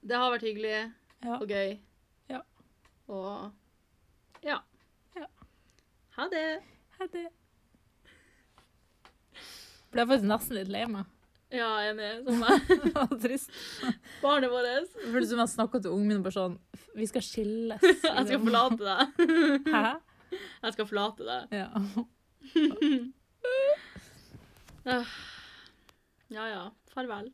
Speaker 1: Det har vært hyggelig
Speaker 3: Ja.
Speaker 1: og gøy.
Speaker 3: Ja.
Speaker 1: Og ja.
Speaker 3: Ja.
Speaker 1: Ha det.
Speaker 3: Ha det. Ble jeg faktisk nesten litt lei meg.
Speaker 1: Ja, enig. Som meg.
Speaker 3: Det var trist.
Speaker 1: Barnet vårt.
Speaker 3: Det føltes som jeg snakka til ungen min bare sånn Vi skal skilles.
Speaker 1: Jeg skal
Speaker 3: liksom.
Speaker 1: forlate deg.
Speaker 3: Hæ?
Speaker 1: Jeg skal forlate deg.
Speaker 3: Ja.
Speaker 1: Ja ja. Farvel.